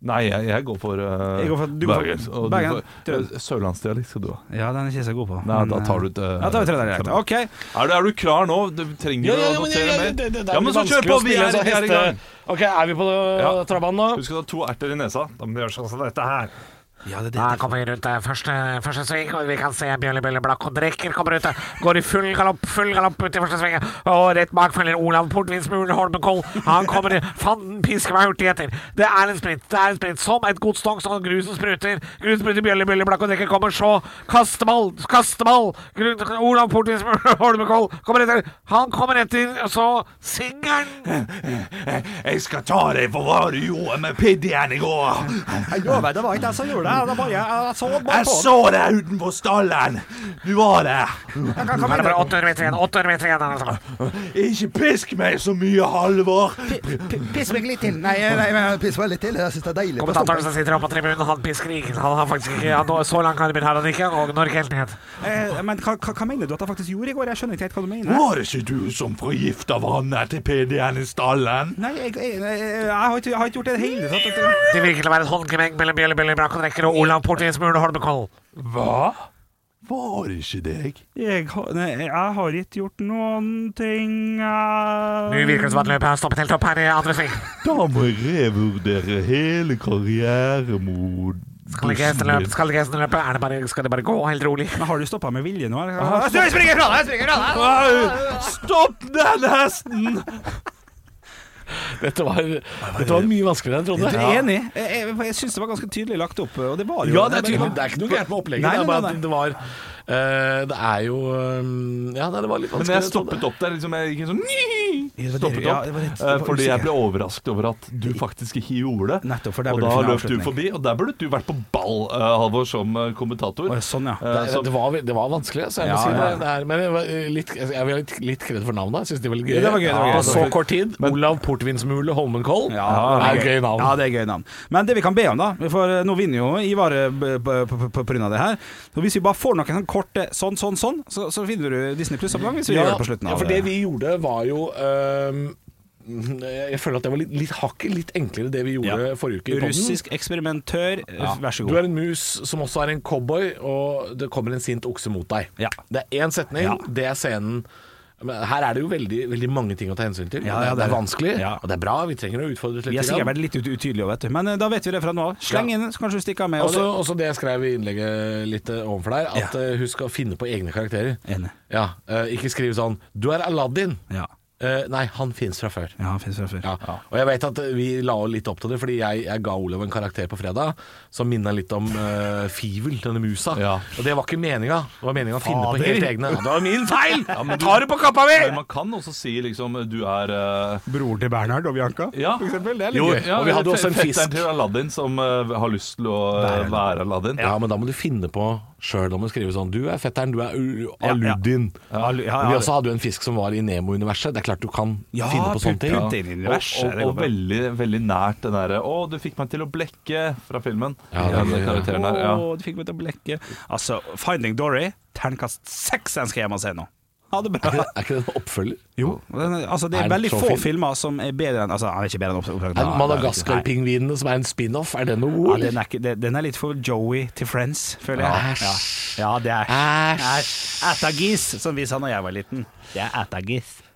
[SPEAKER 4] Nei, jeg, jeg går for, eh,
[SPEAKER 3] Jeg går for- du går for-
[SPEAKER 4] Bergens, og du
[SPEAKER 3] Bergen,
[SPEAKER 4] får-
[SPEAKER 3] Trønder.
[SPEAKER 4] eh, Sørlandsdialekt skal du ha.
[SPEAKER 3] Ja, den er ikke jeg så god på.
[SPEAKER 4] Nei,
[SPEAKER 3] men,
[SPEAKER 4] da tar du
[SPEAKER 3] eh,
[SPEAKER 4] et, eh,
[SPEAKER 3] Ja, tar vi trønderdialekt. OK.
[SPEAKER 4] Er, du, er du klar nå? Du trenger
[SPEAKER 5] Ja, ja, ja,
[SPEAKER 4] å
[SPEAKER 5] men, ja,
[SPEAKER 4] notere
[SPEAKER 5] ja,
[SPEAKER 4] mer.
[SPEAKER 5] det, det, det
[SPEAKER 4] ja, men så kjør på! Vi er, vi
[SPEAKER 5] sånn
[SPEAKER 4] er i gang.
[SPEAKER 5] Ok, er vi på
[SPEAKER 4] Ja.
[SPEAKER 5] ja. trabanen nå?
[SPEAKER 4] Husk å ha to erter i nesa. Da må du gjøre sånn som dette her.
[SPEAKER 3] Ja, det,
[SPEAKER 8] Da
[SPEAKER 3] det,
[SPEAKER 8] kommer vi rundt eh, første, første sving, og vi kan se Bjørli Bjørli Blakk og Drekker kommer ut. eh, Går i full galopp, full galopp ut i første sving, og rett bak følger Olav Portvinsmulen Holmenkoll. Han kommer, eh, fanden pisker meg hurtig etter. Det er en sprint, det er en sprint, som et godstong som grusen spruter. Grusen spruter, Bjørli Bjørli Blakk og Drekker kommer så. Kasteball, kasteball! Grun, Olav Portvinsmulen Holmenkoll kommer etter. Han kommer etter, og så singelen.
[SPEAKER 4] (laughs) Jeg skal ta deg for hva du gjorde med piddien i går.
[SPEAKER 3] det var ikke jeg som gjorde det. Det var jeg, jeg så bare
[SPEAKER 4] Jeg så deg utenfor stallen. Du var der.
[SPEAKER 8] Nå er det bare 800 meter igjen, 800 meter igjen. altså.
[SPEAKER 4] Ikke pisk meg så mye, Halvor.
[SPEAKER 3] Piss meg litt til. Nei, eh, nei, men piss meg litt til. Jeg syns det er deilig.
[SPEAKER 8] Kommentatoren som sitter oppe på tribunen, han pisker ingen. Han har faktisk ikke han, Så lang karriere har han ikke, og når helt ned.
[SPEAKER 3] Eh, men hva, hva, hva mener du at jeg faktisk gjorde i går? Jeg skjønner ikke helt hva du mener.
[SPEAKER 4] Var det ikke du som forgifta vannet til piddien i stallen?
[SPEAKER 3] Nei, jeg, jeg, jeg, jeg, har ikke, jeg har ikke gjort det i det hele tatt. vet
[SPEAKER 8] Det virker til å være et håndgemeng mellom Bjelle Bjelle Brakkondrekker og Olav Portvis Mule Holmenkollen.
[SPEAKER 4] Hva? Var det ikke deg?
[SPEAKER 3] du. Jeg, har- nei, jeg har ikke gjort noen ting eh.
[SPEAKER 8] Nå virker det som at løpet har stoppet helt opp her i andre sving.
[SPEAKER 4] Da må jeg revurdere hele karrieremoden
[SPEAKER 8] Skal ikke hesten løpe? Skal ikke hesten løpe? Er det bare, skal det bare gå helt rolig?
[SPEAKER 3] Men har du stoppa med vilje nå? eller?
[SPEAKER 8] Jeg springer fra deg! Jeg springer fra deg!
[SPEAKER 4] Au! Stopp den hesten!
[SPEAKER 5] Dette var, dette var mye vanskeligere enn jeg
[SPEAKER 3] Jeg
[SPEAKER 5] trodde.
[SPEAKER 3] er enig. Jeg, jeg, jeg syns det var ganske tydelig lagt opp, og det var jo
[SPEAKER 5] Ja, det er tydelig. Det er ikke noe gærent med opplegget.
[SPEAKER 3] Nei,
[SPEAKER 5] det er bare
[SPEAKER 3] nei,
[SPEAKER 5] at det var eh, Det er jo eh, Ja, nei, det var litt
[SPEAKER 4] Men
[SPEAKER 5] vanskelig.
[SPEAKER 4] jeg stoppet opp der. Liksom, jeg gikk sånn
[SPEAKER 3] Ja, det var det-
[SPEAKER 4] Stoppet
[SPEAKER 3] ja, det var litt-
[SPEAKER 4] opp.
[SPEAKER 3] det var
[SPEAKER 4] eh, Fordi jeg
[SPEAKER 3] usikker.
[SPEAKER 4] ble overrasket over at du faktisk ikke gjorde det.
[SPEAKER 3] Nettopp, for der
[SPEAKER 4] og
[SPEAKER 3] burde
[SPEAKER 4] da
[SPEAKER 3] du finne
[SPEAKER 4] løp du
[SPEAKER 3] avslutning.
[SPEAKER 4] forbi, og der burde du vært på ball, eh, Halvor, som eh, kommentator.
[SPEAKER 3] Å, ja, sånn, ja.
[SPEAKER 4] Eh,
[SPEAKER 5] Det,
[SPEAKER 4] så-
[SPEAKER 5] det, var, det var vanskelig, så jeg må
[SPEAKER 3] Ja,
[SPEAKER 5] si det.
[SPEAKER 3] ja.
[SPEAKER 5] det er, men jeg var eh, litt, jeg vil ha litt, litt kred for navnet. Jeg synes det var litt gøy.
[SPEAKER 3] Ja, det var gøy, det var gøy.
[SPEAKER 5] På så kort tid. Olav Portvinsmule Holmenkoll. det er et gøy navn.
[SPEAKER 3] Ja, det er gøy navn. Men det vi kan be om, da For eh, nå vinner jo Ivar eh, b- b- på- på- på grunn av det her. Så Hvis vi bare får noen sånn korte sånn, sånn, sånn, så, så finner du Disney Pluss-oppgang hvis vi gjør det på slutten
[SPEAKER 5] ja,
[SPEAKER 3] av
[SPEAKER 5] for det vi gjorde var jo øhm, jeg jeg føler at det var litt, litt hakket litt enklere det vi gjorde
[SPEAKER 3] Ja.
[SPEAKER 5] forrige uke. i podden.
[SPEAKER 3] Russisk eksperimentør, eh, vær så
[SPEAKER 5] Du
[SPEAKER 3] god.
[SPEAKER 5] er en mus som også er en cowboy, og det kommer en sint okse mot deg.
[SPEAKER 3] Ja.
[SPEAKER 5] Det er én setning, det er scenen. Men her er det jo veldig, veldig mange ting å ta hensyn til.
[SPEAKER 3] Ja, ja,
[SPEAKER 5] det, er, det
[SPEAKER 3] det
[SPEAKER 5] er
[SPEAKER 3] er-
[SPEAKER 5] vanskelig,
[SPEAKER 3] ja.
[SPEAKER 5] og det er bra. Vi trenger å utfordre oss
[SPEAKER 3] Vi
[SPEAKER 5] litt.
[SPEAKER 3] har sikkert
[SPEAKER 5] grann.
[SPEAKER 3] vært litt ut- utydelige, vet du. Men eh, da vet vi det fra nå av. Sleng
[SPEAKER 5] Ja.
[SPEAKER 3] inn, så kanskje du stikker av med.
[SPEAKER 5] Også, også det jeg skrev i innlegget litt eh, overfor deg, at
[SPEAKER 3] Ja.
[SPEAKER 5] eh, hun skal finne på egne karakterer.
[SPEAKER 3] Enig.
[SPEAKER 5] Ja, eh, ikke skriv sånn 'Du er Aladdin'.
[SPEAKER 3] Ja.
[SPEAKER 5] Eh, nei, han fins fra før.
[SPEAKER 3] Ja, finnes fra før.
[SPEAKER 5] Ja. Og jeg vet at vi la jo litt opp til det, fordi jeg, jeg ga Olav en karakter på fredag som minna litt om eh, Fivel, denne musa.
[SPEAKER 4] Ja.
[SPEAKER 5] Og det var ikke meninga. Det var meninga å finne på
[SPEAKER 4] Fader.
[SPEAKER 5] helt egne. Ja, det var min feil! jeg tar det på kappa mi!
[SPEAKER 4] Men man kan også si liksom du er eh,
[SPEAKER 3] Bror til Bernhard og Bianca,
[SPEAKER 4] Ja.
[SPEAKER 3] for eksempel. Det er litt
[SPEAKER 5] Jo,
[SPEAKER 3] gøy.
[SPEAKER 5] og vi hadde
[SPEAKER 4] fe-
[SPEAKER 5] også en fisk.
[SPEAKER 4] Fetteren til Aladdin som eh, har lyst til å eh, være Aladdin.
[SPEAKER 5] Ja, men da må du finne på sjøl. Da må du skrive sånn Du er fetteren, du er U- Aluddin.
[SPEAKER 3] Ja, ja, ja.
[SPEAKER 5] Men Vi også hadde jo en fisk som var i Nemo-universet. Det er klart du kan
[SPEAKER 3] (laughs) Ja,
[SPEAKER 5] finne på sånne ting.
[SPEAKER 3] putte det inn i universet,
[SPEAKER 4] og
[SPEAKER 3] det
[SPEAKER 4] og,
[SPEAKER 3] går
[SPEAKER 4] og
[SPEAKER 3] bra.
[SPEAKER 4] veldig, veldig nært den derre 'Å, du fikk meg til å blekke' fra filmen.
[SPEAKER 5] Ja, det er
[SPEAKER 4] den
[SPEAKER 5] gøy, ja.
[SPEAKER 4] karakteren der. Ja.
[SPEAKER 3] Åh, du fikk meg til å blekke. Altså, Finding Dory, terningkast seks ønsker jeg må se nå. Ha det
[SPEAKER 5] (laughs) Er
[SPEAKER 3] bra.
[SPEAKER 5] ikke- er ikke det en oppfølger?
[SPEAKER 3] Jo, (laughs) den, er- altså, det
[SPEAKER 5] Er
[SPEAKER 3] er
[SPEAKER 5] den
[SPEAKER 3] veldig
[SPEAKER 5] så
[SPEAKER 3] få
[SPEAKER 5] fin?
[SPEAKER 3] filmer som er bedre enn Altså, han er ikke bedre enn Opp- Oppdrag
[SPEAKER 5] Er
[SPEAKER 3] Dawn.
[SPEAKER 5] Madagaskar-pingvinene som er en spin-off, er det noe god?
[SPEAKER 3] Ja, den, er ikke, den- den er litt for Joey til Friends, føler jeg. Ja,
[SPEAKER 5] Æsj.
[SPEAKER 3] ja det er
[SPEAKER 5] Æsj.
[SPEAKER 3] er Ætagis, som vi sa når jeg var liten. Det er ætagis.